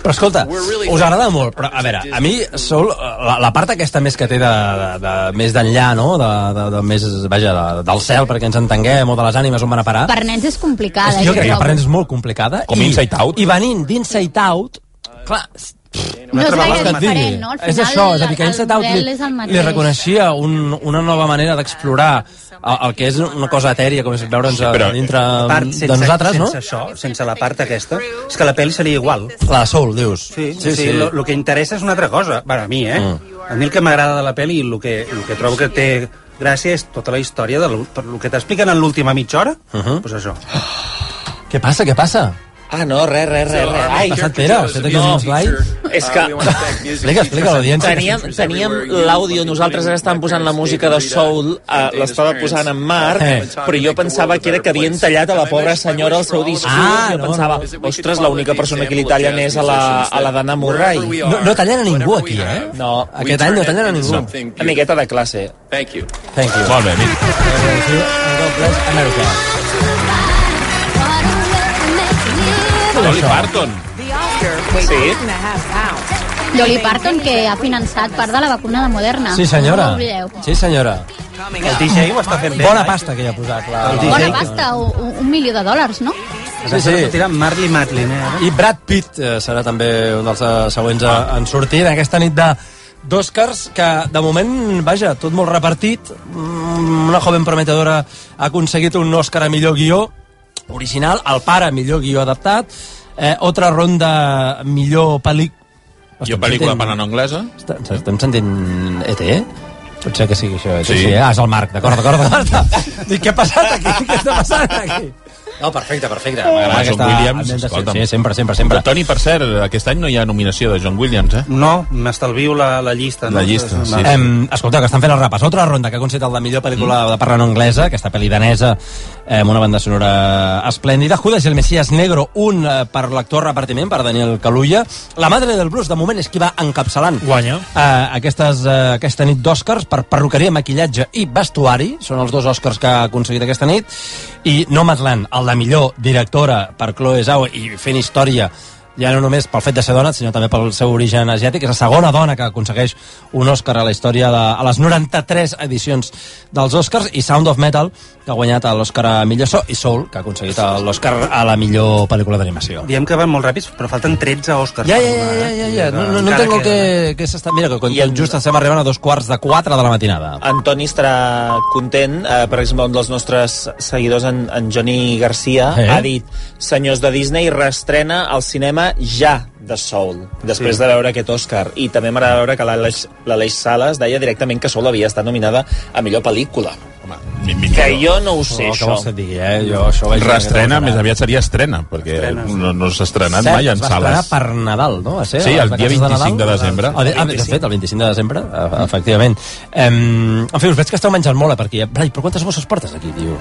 Però escolta, us agrada molt, però a veure, a mi Soul, la, la part aquesta més que té de, de, de més d'enllà, no? De, de, de més, vaja, de, del cel, perquè ens entenguem, o de les ànimes on van a parar.
Per nens és complicada. eh,
jo crec que
trobo.
per nens és molt complicada.
Com Inside Out.
I venint d'Inside Out, clar,
No és gaire diferent, no? Al
és
final,
això, és a dir, que
el
Inside Out
model és el
li,
mateix.
li reconeixia un, una nova manera d'explorar el, el que és una cosa etèria, com és veure'ns sí,
però-
dintre
A part, sense,
de doncs nosaltres, no?
sense això, sense la part aquesta, és que la pel·li seria igual.
La de Soul, dius.
Sí, sí, sí. El que interessa és una altra cosa. Bueno, a mi, eh? Mm. A mi el que m'agrada de la pel·li i el que, el que trobo que té gràcia és tota la història del el que t'expliquen en l'última mitja hora, uh -huh. doncs això.
Què passa, què passa?
Ah, no, res, res, res, res. Ai,
Ha passat, Pere? Això té que és un slide?
És que...
Explica, explica a l'audiència.
Teníem, teníem l'àudio, nosaltres ara estàvem posant la música de Soul, eh, l'estava posant en Marc,
Eh.
però jo pensava que era que havien tallat a la pobra senyora el seu discurs, ah, jo pensava, ostres, l'única persona que li tallen és a la, a la Dana Murray.
No, no tallen a ningú aquí, eh?
No,
Aquest any no tallen a ningú.
Una miqueta de classe.
Thank you.
Thank you. Molt bé, America.
Dolly Parton.
Sí.
Dolly Parton, que ha finançat part de la vacuna de Moderna.
Sí,
Ah, No ho
senyora.
oblideu.
Sí, senyora.
El DJ ho està fent bé.
Bona pasta que hi ha posat. La, la-
Bona pasta, o- o un milió de dòlars, no?
Sí, sí.
Tira Marley Matlin, eh?
I Brad Pitt eh, serà també un dels eh, següents a, en sortir d'aquesta nit de d'Òscars, que de moment, vaja, tot molt repartit. Mm, Una joven prometedora ha aconseguit un Òscar a millor guió original, el pare millor guió adaptat, eh, otra ronda millor pel·lícula...
Jo pel·lícula parlant anglesa.
Ens estem sentint ET, eh? Potser que sigui això, E ET.
Sí.
Sí, sí eh? Ah, és el Marc, d'acord, d'acord, d'acord. Dic, què ha passat aquí? Què està passant aquí? No, perfecte, perfecte.
Home,
M'agrada
John
aquesta...
Williams,
ambientació.
escolta'm.
Sí, eh? sempre, sempre, sempre.
Toni, per cert, aquest any no hi ha nominació de John Williams, eh?
No, m'estalvio la, la llista.
La llista, sí, sí. Mm.
Em, escolta, que estan fent el repàs. Altra ronda que ha aconseguit el de millor pel·lícula de parla no anglesa, aquesta pel·li danesa, eh, amb una banda sonora esplèndida. Judas i el Messias Negro, un eh, per l'actor repartiment, per Daniel Kaluuya. La Madre del Blues, de moment, és qui va encapçalant.
Guanya.
Eh, aquestes, eh, aquesta nit d'Oscars per perruqueria, maquillatge i vestuari. Són els dos Oscars que ha aconseguit aquesta nit. I Nomadland, el de millor directora per Chloe Zhao i fent història ja no només pel fet de ser dona, sinó també pel seu origen asiàtic. És la segona dona que aconsegueix un Oscar a la història de, a les 93 edicions dels Oscars i Sound of Metal, que ha guanyat l'Oscar a millor so, i Soul, que ha aconseguit l'Oscar a la millor pel·lícula d'animació.
Diem que van molt ràpids, però falten 13 Oscars.
Ja,
per
ja,
donar,
ja,
eh?
ja, ja. No, no, no
Encara
entenc el
queda.
que, que s'està... Mira, que quan just estem arribant a dos quarts de quatre de la matinada.
Antoni estarà content, eh, per exemple, un dels nostres seguidors, en, en Johnny Garcia,
Eh?
eh? ha dit Senyors de Disney reestrena al cinema ja de Soul, després
Sí.
sí. de veure aquest Òscar. I també m'agrada veure que l'Aleix l'Aleix Sales deia directament que Soul havia estat nominada a millor pel·lícula. Home, que jo no ho sé,
Oh, que
això.
vols que et
digui, eh? Jo això ho vaig
Reestrena,
veure que no
més aviat seria estrena, perquè no, no s'ha estrenat
Cert,
mai en
es va estrenar
sales.
per Nadal, no? Va ser,
Sí,
a les
el dia
vacances
25 de
Nadal?
desembre.
Ah, de, ah, de fet, el 25 de desembre, eh, efectivament. Em, en fi, us veig que esteu menjant molt, eh, perquè... Blai, però quantes bosses portes aquí, tio?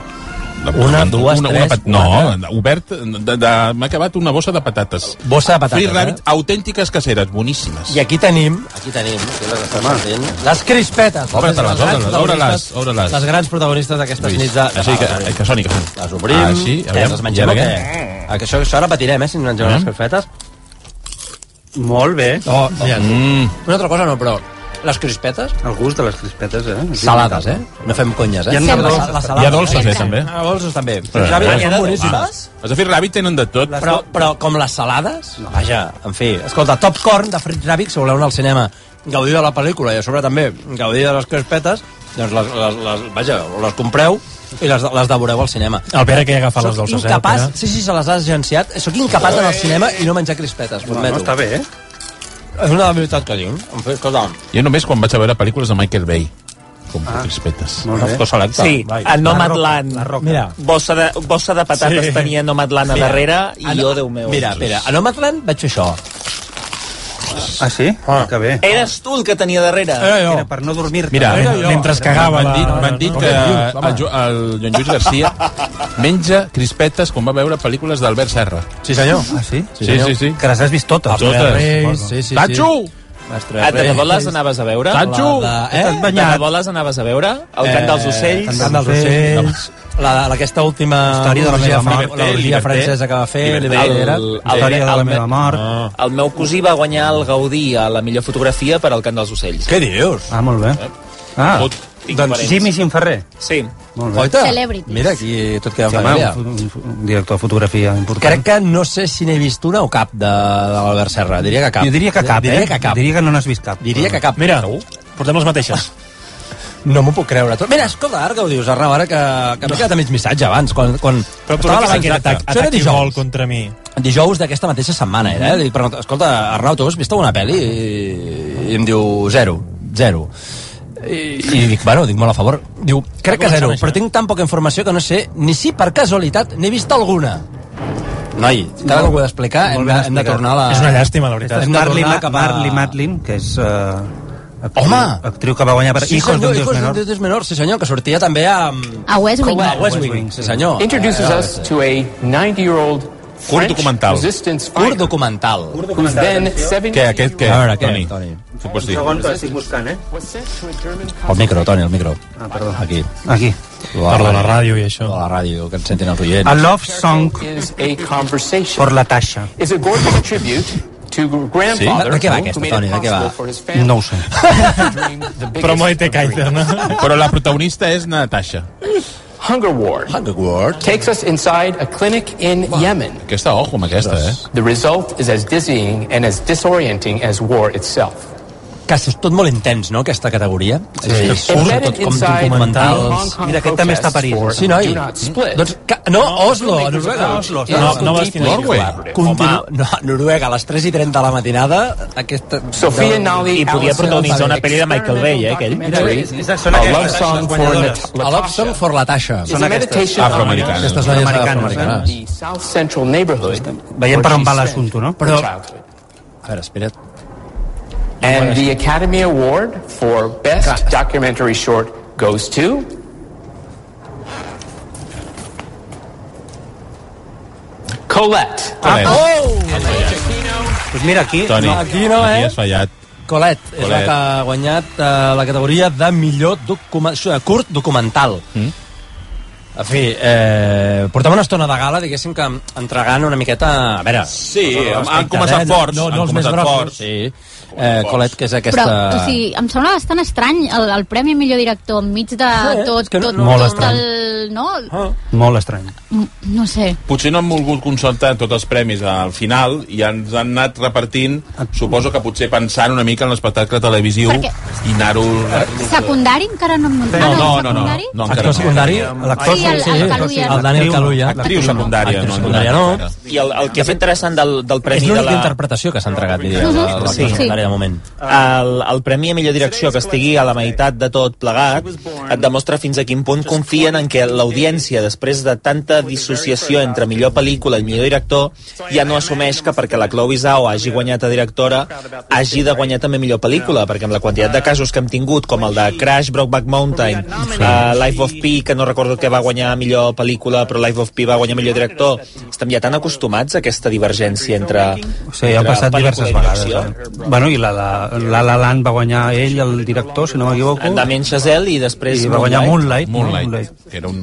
Una, dues,
una,
tres,
una, pat-
quatre.
No, obert... De, de, M'ha acabat una bossa de patates.
Bossa de patates,
Free Rabbit,
eh?
autèntiques caceres, boníssimes.
I aquí tenim... Aquí tenim, aquí les estem sentint. Les crispetes.
Obre-te-les,
Les grans
obre-les,
protagonistes-
obre-les, obre-les.
Les grans protagonistes d'aquestes
Lluís,
nits de... de
així que-
Nadal.
que soni, que soni.
Les obrim.
Ah, sí?
Què,
Aviam,
les mengem
i
o
ara
què?
què?
Ah, que Això, això ara patirem, eh, si ens mengem
Eh?
les crispetes.
Molt bé.
Oh, mira, mm. Una altra cosa no, però les crispetes...
El gust de les crispetes, eh?
Salades, eh? No fem conyes, eh?
Hi ha
Sempre.
dolces.
Les salades,
Hi ha dolces, eh, també.
Ah, dolces, també.
Però,
Ja, mira,
eh,
són
eh,
boníssimes.
Els de Free Rabbit tenen de tot.
Però, però com les salades... No, vaja, en fi. Escolta, Top Corn de Fritz Rabbit, si voleu anar al cinema, gaudir de la pel·lícula i a sobre també gaudir de les crispetes, doncs les, les, les, vaja, les compreu i les, les devoreu al cinema.
El Pere que hi ha agafat
Soc
les dolces, eh,
incapaç,
el Pere?
Sí, sí, se les has agenciat. Soc incapaç d'anar al cinema i no menjar crispetes, m'ho
No,
admeto.
no, està
bé, eh?
És una debilitat que tinc. En fi, escolta,
Jo només quan vaig a veure pel·lícules de Michael Bay. Com ah, crispetes. Cos selecte.
Sí, a Nomadland.
Mira.
Bossa de, bossa de patates
Sí.
sí. tenia Nomadland a
Mira,
darrere
a
i
Ah, no-
jo, Déu meu.
Mira, ah, espera, a Nomadland vaig fer això.
Ah, sí? Ah. Que bé.
Eres tu el que tenia darrere.
Era jo.
Era per no dormir-te.
Mira, eh,
mentre es cagava
M'han
la-
dit, m'han dit
no,
que
no, no, home.
el, Jo- el Joan Lluís Garcia menja crispetes com va veure pel·lícules d'Albert Serra.
Sí, senyor. Ah,
Ah, sí?
Sí, sí, sí.
Que les has vist totes.
Totes.
Sí, sí, sí.
Tatxo!
A de debò les anaves a veure?
Sancho!
La de-
Eh?
Eh? De debò les anaves a veure? El cant dels ocells?
El cant Eh, dels ocells. La, la, aquesta última
Història de la meva mort.
orgia- l'orgia
Liberté.
francesa que va fer
Liberté.
l'Iberia.
El- el- Història de la el- meva
mort.
El meu cosí va guanyar el Gaudí a la millor fotografia per al cant dels ocells.
Què dius?
Ah, molt bé. Ah,
Tot
doncs
diferents.
Jimmy Xinferrer.
Sí.
Molt bé.
Oita,
Celebrities.
mira aquí tot queda en
Sí, home,
família.
un, un, un director de fotografia important.
Crec que no sé si n'he vist una o cap de, de l'Albert Serra. Diria que cap.
Jo diria que cap,
diria
eh?
Que cap.
Diria que no n'has vist cap.
Diria que cap.
Mira, portem les mateixes.
No m'ho puc creure. Tu- Mira, escolta, ara que ho dius, Arnau, ara que, que m'he quedat a mig missatge abans, quan, quan
Però, però
estava
què és
abans
aquest
d'acte.
atac,
Això era
atac i
dijous.
vol contra mi?
dijous d'aquesta mateixa setmana era, eh? Dic, però, escolta, Arnau, tu has vist alguna pel·li? I, i em diu, zero, zero. I, i dic, bueno, dic molt a favor. Diu, crec que zero, però tinc tan poca informació que no sé ni si per casualitat n'he vist alguna. Noi, cada
Molt-
cop ho he d'explicar, hem,
molt
de-
ben
hem de
explicat.
tornar a la...
És una llàstima, la veritat.
Hem de
Marley,
tornar
Ma
cap a-
Marley Matlin, que és... Uh, actriu,
Home!
Actriu que va guanyar per
Sí,
Hijos de
senyor,
un Dios
Hijos
Menor.
Dios Menor, sí senyor, que sortia també amb...
A West Wing.
A West Wing, sí senyor.
Introduces
Eh,
us to a 90-year-old
Curt
French
documental.
resistance
Curt
fighter
documental.
who's then 70
Què, aquest, què?
A veure, què,
Toni?
Toni?
Què pots dir?
Segon, estic buscant, eh?
was sent to a German
El micro, Toni, el micro.
Ah, perdó.
Aquí.
Aquí.
Per la ràdio i això.
Per la ràdio, que ens sentin els oients.
A love song
is a conversation
por la tasha.
is a gorgeous tribute to grandfather
De- de què va
who
aquesta,
made it
Toni, de què va?
possible for his family
No ho sé.
to dream the biggest
Promo de Kaiser, no?
Però la protagonista és Natasha.
hunger war
Hunger World.
takes us inside a clinic in Yemen
Aquesta, ojo amb aquesta, eh?
the result is as dizzying and as disorienting as war itself
que és tot molt intens, no?, aquesta categoria.
Sí.
És que surt
Embedded
tot com
inside the Hong
documentals...
Kong Mira, aquest també està a París. protests for
Sí, noi.
do not split.
Doncs, que, no, Oslo, a Noruega.
No, Oslo, no, no, no, Norway.
Continu... No, Noruega, a les 3 i 30 de la matinada, aquesta...
Sofia Nolly,
I podia protagonitzar una pel·li de Michael Bay, eh, aquell.
A love song for Nat-
A love song for Latasha.
It's a meditation on
Afroamericanes. Aquestes noies afroamericanes.
The South Central neighborhood.
Veiem per on va
where she
l'assumpte, no?
spent
Però-
her childhood.
Ah, A veure, espera't.
And the Academy Award for Best Documentary Short goes to Colette.
Colette.
Oh!
Pues mira, aquí...
Toni,
no, aquí no, eh?
Aquí has fallat.
Colet, és la
Colette.
que ha guanyat eh, la categoria de millor document, eh, curt documental. Mm? En fi, eh, portem una estona de gala, diguéssim que entregant una miqueta... A veure...
Sí,
amb tot el
han
respecte,
començat
eh?
forts,
No,
han
no, els més
començat
grossos.
forts.
Sí. Eh, Colet, que és aquesta...
Però, o sigui, em sembla bastant estrany el, el Premi a Millor Director enmig de
Sí,
tot,
és que no-
tot,
no- Molt
tot
estrany.
el... No?
Molt estrany.
Mm, No sé.
Potser no han volgut concentrar tots els premis al final i ens han anat repartint, suposo que potser pensant una mica en l'espectacle televisiu
Perquè-
i anar-ho...
Secundari encara no... Ah, No,
no, no, no. no encara
Actor secundari? L'actor
Sí, el- el Caluya.
El Daniel Caluya.
Actriu secundària.
Actriu secundària, no.
I el, el que és interessant del, del
És
premi de
l'única
la...
interpretació que s'ha entregat, diria,
Mhm.
de l'actor
Sí.
secundari de moment.
El, el Premi a Millor Direcció que estigui a la meitat de tot plegat et demostra fins a quin punt confien en que l'audiència, després de tanta dissociació entre millor pel·lícula i millor director, ja no assumeix que perquè la Chloe Zhao hagi guanyat a directora hagi de guanyar també millor pel·lícula, perquè amb la quantitat de casos que hem tingut, com el de Crash, Brokeback Mountain, uh, Life of Pi, que no recordo que va guanyar millor pel·lícula, però Life of Pi va guanyar millor director, estem ja tan acostumats a aquesta divergència entre...
Sí, ha
entre
passat
pel·lícula
diverses
i
vegades.
direcció.
Eh? Bueno, i la, la, la, la Land va guanyar ell, el director, si no m'equivoco.
En Damien Chazelle i després...
I va guanyar Moonlight.
Moonlight.
Moonlight.
Era un...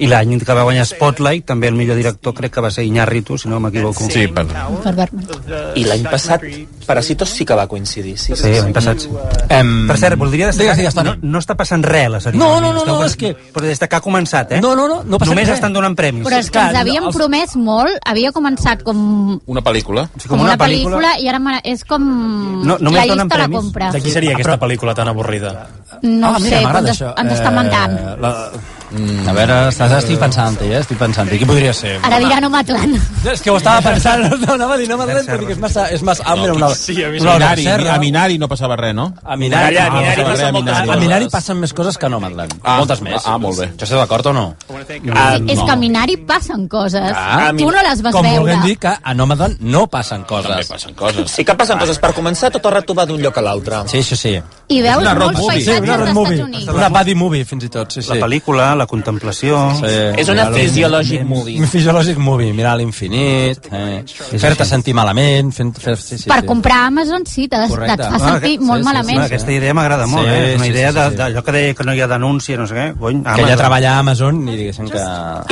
I l'any que va guanyar Spotlight, també el millor director crec que va ser Iñárritu, si no m'equivoco.
Sí, per...
Per Bergman.
I l'any passat Parasitos sí que va coincidir. Sí,
Sí, l'any passat.
Em...
Per cert, voldria destacar
Digues, digues,
que
Toni.
no, no està passant res a la cerimònia.
No, no, no,
Esteu
no,
per-
és que-
Però des de que ha començat, eh?
No, no, no, no passa
Només
res.
estan donant premis.
Però és que ens havíem promès molt, havia començat com,
Una pel·lícula.
com, una, pel·lícula i ara me- és com...
No- només
la
donen
llista la
premis.
compra.
De qui seria aquesta pel·lícula tan avorrida?
No ho sé,
m'agrada
però ens,
Ah, això.
ens està
Eh,
mentant.
La... Mm, a veure, estàs, estic pensant-hi, eh? Estic pensant-hi. Qui podria ser?
Ara dirà no Matlan.
És que ho estava pensant, no, anava a dir, no m'agrada, perquè és massa... És massa ample, una... una hora
Minari,
serra.
a Minari no passava res, no?
A Minari,
Ah,
a
no passava
Minari,
res,
passen
a
moltes
Minari.
coses. a Minari passen més coses que no, Madlen.
Ah,
moltes més.
ah, molt bé.
Jo sé d'acord o no?
Sí, és que a Minari passen coses.
Ah,
tu no les vas
Com
veure.
volguem dir que a Nomadland no passen coses. També
passen coses.
Sí que passen coses. Per començar, tot el rato va d'un lloc a l'altre.
Sí, sí, sí.
I veus molts
Sí,
paisatges
una road
d'Estats
movie.
Units.
Una buddy movie, fins i tot. Sí, sí.
La pel·lícula, la contemplació...
Sí,
És una
mirar
physiologic
l'infinit.
movie.
Un physiologic movie, mirar a l'infinit, eh, fer-te sentir malament, fent, fer, sí, sí,
Per
sí.
comprar Amazon sí, t'has- et fa sentir molt malament.
Ah, Sí, aquesta idea m'agrada molt,
Sí,
eh? És una
sí,
idea
sí,
de,
sí.
d'allò que deia que no hi ha denúncia, no sé què. ah, Cony,
Que ja treballa a Amazon i diguéssim que...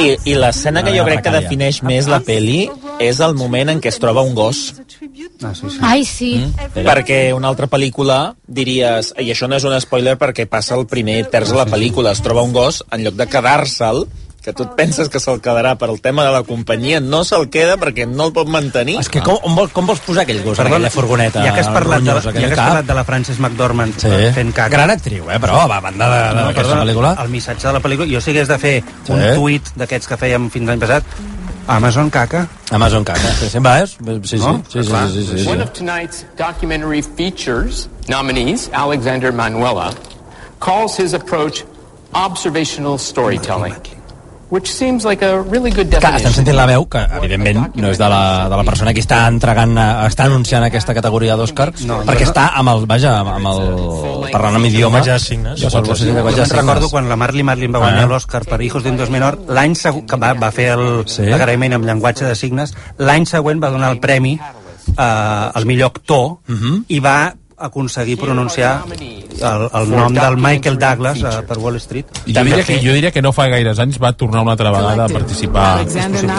I, i l'escena que jo crec que
Precària.
defineix més la peli és el moment en què es troba un gos.
Ah, sí, sí.
Ai, sí.
Perquè una altra pel·lícula diries... I això no és un spoiler perquè passa el primer terç de la pel·lícula. Es troba un gos, en lloc de quedar-se'l, que tu et penses que se'l quedarà per el tema de la companyia, no se'l queda perquè no el pot mantenir.
És que com, on vol, com vols posar aquell gos, Perdó, aquella furgoneta?
ja que has parlat, de, la-
ronyós,
ja
aquell
que has
cap?
parlat de la Frances McDormand
Sí.
fent caca.
Gran actriu, eh, però, va, a banda de-
Ah, No,
d'aquesta
perdona,
pel·lícula.
El missatge de la pel·lícula, jo sé que has de fer
Sí.
un tuit d'aquests que fèiem fins l'any passat, Amazon caca.
Amazon caca. Sí, sí, va, és? Sí, sí,
No? Ah,
sí, sí, sí, sí, sí,
One
sí.
of tonight's documentary features nominees, Alexander Manuela, calls his approach observational storytelling, which seems like a really good
Clar, estem
definition.
sentint la veu, que evidentment no és de la, de la persona que està entregant, eh, està anunciant aquesta categoria d'Òscar, no, perquè
no.
està amb el, vaja, amb- amb el, parlant amb idioma.
Llenguatge de signes.
Jo sols
Jo
sé llenguatge de Ah.
me'n
signes.
recordo quan la Marley Marlin va guanyar l'Oscar per Hijos de un dos menor, l'any següent, que va, va fer el- l'agraïment amb llenguatge de signes, l'any següent va donar el premi eh, al millor actor
Mhm.
i va aconseguir pronunciar el, el nom del Michael Douglas eh, per Wall Street.
I jo diria, que, jo diria que no fa gaires anys va tornar una altra vegada a participar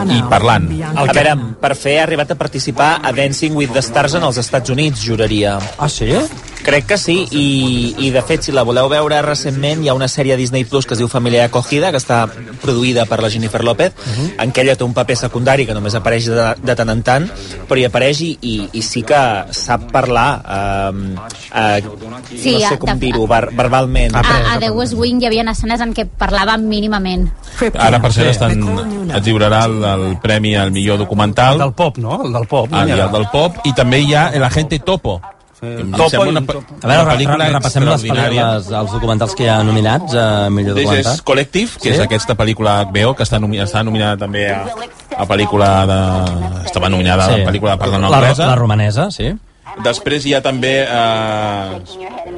i parlant.
A veure, per fer ha arribat a participar a Dancing with the Stars en els Estats Units, juraria.
Ah, sí?
Crec que sí, i, i de fet, si la voleu veure recentment, hi ha una sèrie a Disney Plus que es diu Família Acogida, que està produïda per la Jennifer López,
Mhm.
en què ella té un paper secundari que només apareix de, de tant en tant, però hi apareix i, i, i sí que sap parlar, eh, eh,
Sí,
no
a-
sé com
de-
dir-ho, ver, verbalment.
A,
Ah,
a The West Wing hi havia escenes en què parlava mínimament.
Ara, per cert, estan, et lliurarà el, el premi al millor documental. El del
pop, no? El del pop.
Ah, i el del pop. I també hi ha El agente Topo.
Topo i un topo. A veure, re- repassem les pel·lícules,
els documentals que hi ha nominats a millor
eh, documental.
És Collective, que
Sí?
sí? és aquesta pel·lícula HBO, que està, nomi està nominada també a, a pel·lícula de... Estava nominada
Sí.
a pel·lícula de parla
La-
anglesa.
la romanesa, sí.
Després hi ha també... Eh,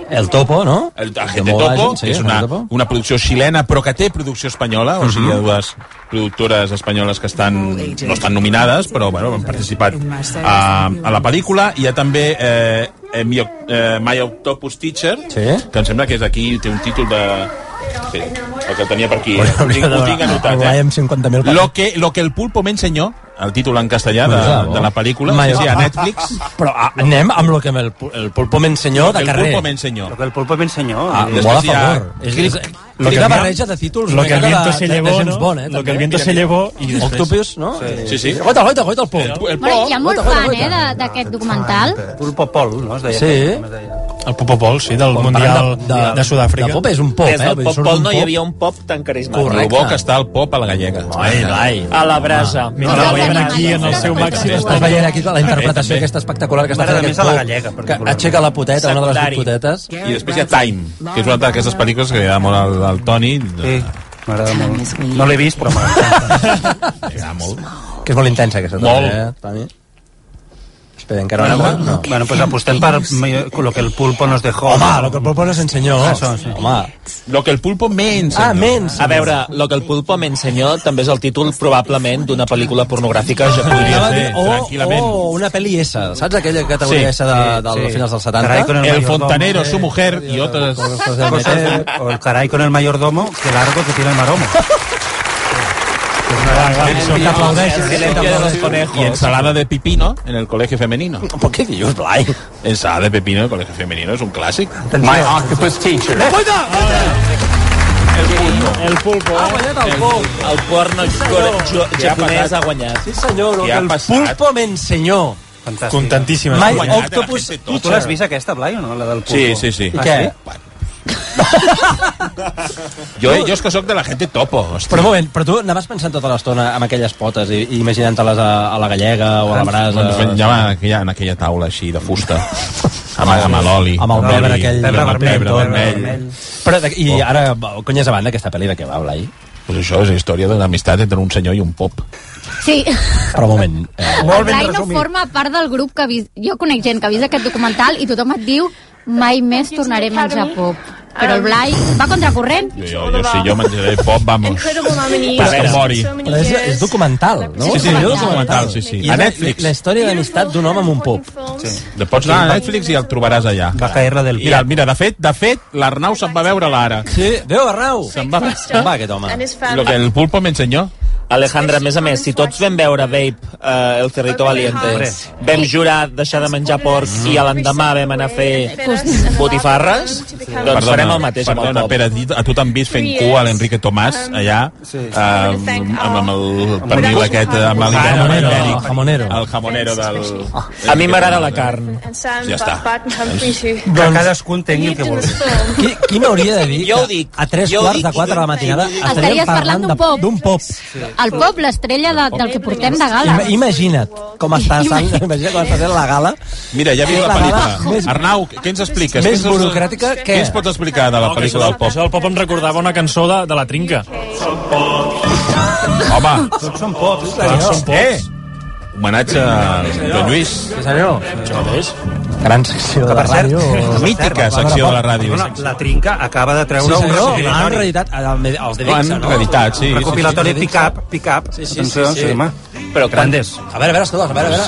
El Topo, no?
El Agente
De Mola
Topo,
Agent, sí,
que és
Agent
una,
Topo. Mhm.
una producció xilena, però que té producció espanyola, o sigui, hi ha dues productores espanyoles que estan, no estan nominades, però bueno, han participat a, a la pel·lícula. Hi ha també eh, eh, Mio- eh, My Octopus Teacher, sí? que em sembla que és aquí, té un títol de... Espera, el que el tenia per aquí. eh? Ho tinc, ho tinc anotat, eh?
Ryan 50.000 papers.
Lo que, lo que el pulpo me enseñó, el títol en castellà de, de la pel·lícula, sí, sí, a Netflix.
Però a, Ah, anem amb lo que el, pu- el pulpo m'ensenyó
Lo que
de
el
carrer.
pulpo me enseñó.
Lo que el pulpo me enseñó.
Ah,
Després
molt a
hi ha
favor. És, és,
Click-
lo que
Click
una
Around.
barreja de títols.
Lo que el viento se llevó,
llevó,
no?
Bon, eh,
Lo
també.
que el viento se llevó i després-
Octopus, no?
Sí, sí.
Goita, goita, goita el pulpo.
Oh,
El,
Bueno, hi ha molt fan, eh, de- d'aquest documental.
Pulpo Pol, no? Es deia
Sí.
El Popopol, sí, del
Quan
Mundial
parlem
de, de, de Sud-àfrica.
de pop és un pop,
Des
eh?
del
Vull dir,
pop
surt
pol
d'un
no hi
pop.
havia un pop tan carismàtic.
Correcte. Lo bo que està el pop a la gallega. Ai, ai.
A la brasa.
Mentre
A la
veiem
brasa.
aquí en el seu màxim
Estàs
Estàs veient aquí la interpretació aquesta espectacular que està fent
M'agrada més
aquest
a la
pop,
gallega,
que aixeca la poteta, una de les
Secundari.
dues potetes.
I després hi ha Time, que és una altra d'aquestes pel·lícules que li agrada molt al, al Toni. Sí,
m'agrada molt. No l'he vist, però m'agrada.
Que és molt intensa aquesta
Molt.
també, eh, Toni? Espera, encara no.
Bueno,
no.
bueno, pues apostem per mi- lo que el pulpo nos dejó.
Home, lo que el pulpo nos ensenyó.
Això, sí.
Home.
Lo que el pulpo me enseñó.
Ah, me enseñó.
A veure, Lo que el pulpo me ensenyó també és el títol probablement d'una pel·lícula
Ah,
pornogràfica ja podria ser,
o,
tranquil·lament.
o una pel·li S, saps aquella categoria
Sí,
S de,
sí,
del
sí.
finals dels
Caray con
70?
el mayordomo, eh,
mujer y otras
cosas. O el caray con el mayordomo, que largo que tiene el maromo.
Y ensalada de pepino en el colegio femenino. ¿Por qué dios, Blay? Ensalada de pepino en el colegio femenino es un clásico.
My
Ah, pues,
octopus teacher.
El pulpo. Ha
Ah, guanyat el pulpo.
El porno
senyor.
jo-
Què ha
japonès
passat?
ha guanyat.
Sí, senyor, lo
Què
que
ha
el
passat?
pulpo m'ensenyó.
Fantàstic.
Contentíssima.
My
eh,
Guanyat, la
Octopus
Tu l'has vist aquesta, Blai, o no? La del pulpo?
Sí, sí, sí.
Ah,
Què?
Yo, yo es que soy de la gente topo. hòstia.
Però un moment, però tu anaves pensant tota l'estona amb aquelles potes i, i imaginant-te-les a, a la gallega o a la brasa.
Doncs menjava en aquella, en aquella taula així de fusta, amb, amb l'oli.
Amb el pebre
oli,
aquell.
amb el pebre vermell.
Però, de, I ara, conyes a banda, aquesta pel·li de què va, Blai?
Pues això és la història de l'amistat entre un senyor i un pop.
Sí.
Però un moment. Eh,
el Blai no forma part del grup que ha vist... Jo conec gent que ha vist aquest documental i tothom et diu mai més tornaré a menjar pop. Però el Blai va contracorrent.
Jo, jo, jo, si jo menjaré pop, vamos. Però que mori.
Però és, és documental, no?
Sí, sí,
És
és documental, sí, sí.
I
A
és la-
Netflix.
La història d'amistat d'un home amb un pop.
Sí. De pots anar a Netflix i el trobaràs allà. Va caer-la del mira, mira, de fet, de fet, l'Arnau se'n va veure l'ara.
Sí, adéu, Arnau.
Se'n va, se'n va aquest home. Lo que
el
pulpo m'ensenyó.
Alejandra, a més a més, si tots vam veure Babe, eh, El Cerrito Valiente, vam jurar deixar de menjar porc i a l'endemà vam anar a fer botifarres, doncs farem el mateix amb el
perdona,
pop.
Pere, a ti- a tu t'han vist fent cua a l'Enrique Tomàs allà sí. Um, amb, amb, amb el pernil aquest amb
Ah,
el
Jamonero,
ibèric.
jamonero.
el jamonero del...
A mi m'agrada la carn.
Ja està.
Que
doncs-
cadascú entengui el que vulgui.
Qui, qui m'hauria de dir que a tres
jo ho
quarts
dic
de
i
quatre de la matinada estaríem
Estaries parlant
parlant de-
d'un pop.
d'un pop.
El pop, l'estrella de, del que portem de gala.
Ima- Imagina't com està sent, imagina't com està sent la gala.
Mira, ja
És
viu la
la gala
pel·lícula.
més-
Arnau, què ens expliques?
més
Què ens-
burocràtica que-
Què ens pots explicar de la pel·lícula del pop?
Això del pop em recordava una cançó de, de la trinca.
Home,
Tots són pops.
Tots són pops.
Eh! homenatge a Joan Lluís.
Sí, senyor.
Això mateix.
Gran secció de
Que,
la
per cert,
ràdio.
mítica secció de la
Ah,
ràdio.
No, no, la Trinca acaba de treure
Sí,
un
senyor, l'han
recopilatori.
reeditat al- als de Dixa,
Han
no?
reeditat, sí.
Un
sí,
recopilatori
sí, sí.
pick-up, pick-up. Doncs,
Sí, sí,
Atenció,
sí, sí.
home.
Però quan-
Grandes.
A veure, a veure, escolta, a veure, a veure.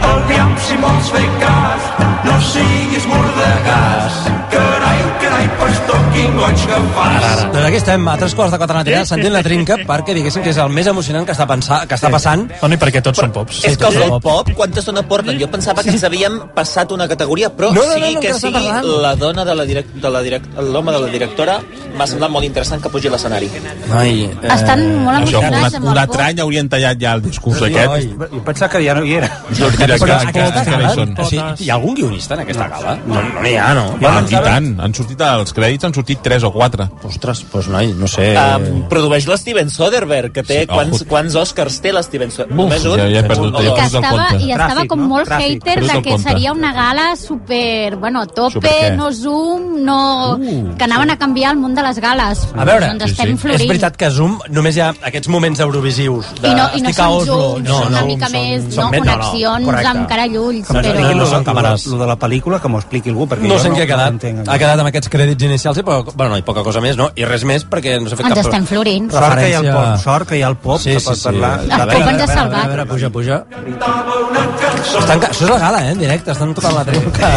Aviam si vols fer cas, no siguis mordegàs. Carai, carai, pastor, quin goig que fas.
No, no, Doncs aquí estem, a tres quarts de quatre de la matinada, sentint la trinca, perquè diguéssim que és el més emocionant que està, pensar, que està passant.
Toni, perquè tots són pops.
És que el Red Pop, quanta estona porten? Jo pensava que ens havíem passat una categoria, però no,
No, no, no,
sigui
no,
que
encara està
sigui
parlant.
la dona de la direc- de la direc- l'home de la directora, m'ha semblat molt interessant que pugi a l'escenari.
Ai,
eh, Estan molt
això,
emocionats
una,
amb el
una
pop.
tranya haurien tallat ja el discurs
Ai.
aquest.
Jo pensava que ja no hi era.
Jo diria que,
Però
que, que,
aquesta
encara
gala,
hi són.
o sigui, hi ha algun guionista en aquesta gala? No, no n'hi
Ja,
ha, no.
no. Ja, I tant. Han sortit als crèdits, han sortit 3 o 4.
Ostres, doncs noi, no sé...
Um, produeix la Steven Soderbergh, que té
Eh, Sí,
sí,
oh.
quants, quants Oscars té la Steven Soderbergh. Només un?
ja- ja he perdut-
Un o
ja he
dos?
que estava, i estava
Tràfic,
com
no?
molt
Tràfic.
hater
Perdut
de
el
que
compte.
seria una gala super, bueno, a
Super
tope,
què?
no zoom, no...
Uh,
que anaven a canviar el món de les gales.
A veure,
doncs estem
és
florint.
veritat que a Zoom només hi ha aquests moments eurovisius. De,
I no, i no
estic a
són
Oslo.
zooms, no, són una mica més,
són
no,
més- no, no,
connexions
correcte.
amb carallulls,
No, no,
però...
no, no són càmeres.
Lo de la pel·lícula, que m'ho expliqui algú, perquè
No
jo
sé en què ha quedat.
entenc, allò.
Ha quedat amb aquests crèdits inicials i, poca, bueno, i poca cosa més, no? I res més, perquè no s'ha fet
Ens
cap...
estem florint.
Sort que hi ha el
referència.
pop, sort que hi ha el pop,
Sí,
que
sí,
pot
sí.
parlar.
El pop
A veure,
ens ha
a veure,
salvat.
a veure,
puja, puja. Estan, ca- això és la gala, eh? En directe, estan tocant la trenca.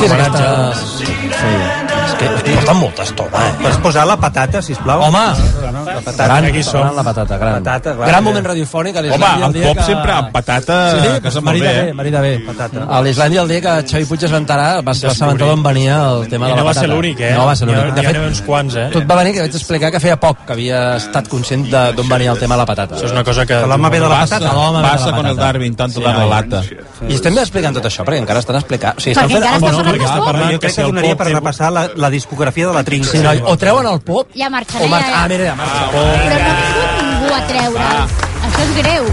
Què és aquesta? Sí. És que porten molta estona, eh?
Pots posar la patata, sisplau?
Home!
No, la patata.
Gran, gran la patata, gran.
Patata, clar,
gran
eh?
moment radiofònic a
Home,
l'Islàndia.
el
dia
pop
que-
sempre amb patata, que se'n
marida
molt bé,
bé,
eh?
marida bé. Patata. A l'Islàndia el dia que Xavi Puig es va enterar, va, va saber d'on venia el tema
I
de la
no va
patata.
ser l'únic, eh?
No va ser
Hi ha-
l'únic.
hi ha uns quants, eh?
Tot va venir que vaig explicar que feia poc que havia estat conscient de d'on venia el tema de la patata.
Això és una cosa que- Que
l'home ve de la
Passa-
patata.
l'home ve de la
Passa con el
patata.
Darwin, tanto
Sí,
la
home.
relata.
I estem explicant tot això, perquè encara estan explicant... O sigui, estan
Perquè
fent...
encara
el
està
monòleg
parlant
està
de pop.
parlant
Jo crec que donaria per repassar la, la discografia de la Trinca.
Sí, noi, o treuen el pop...
I a
O
Marxanella,
mar... Ah,
eh?
mira, ja marxa.
Però no ha vingut ningú a treure'ls. Això és greu.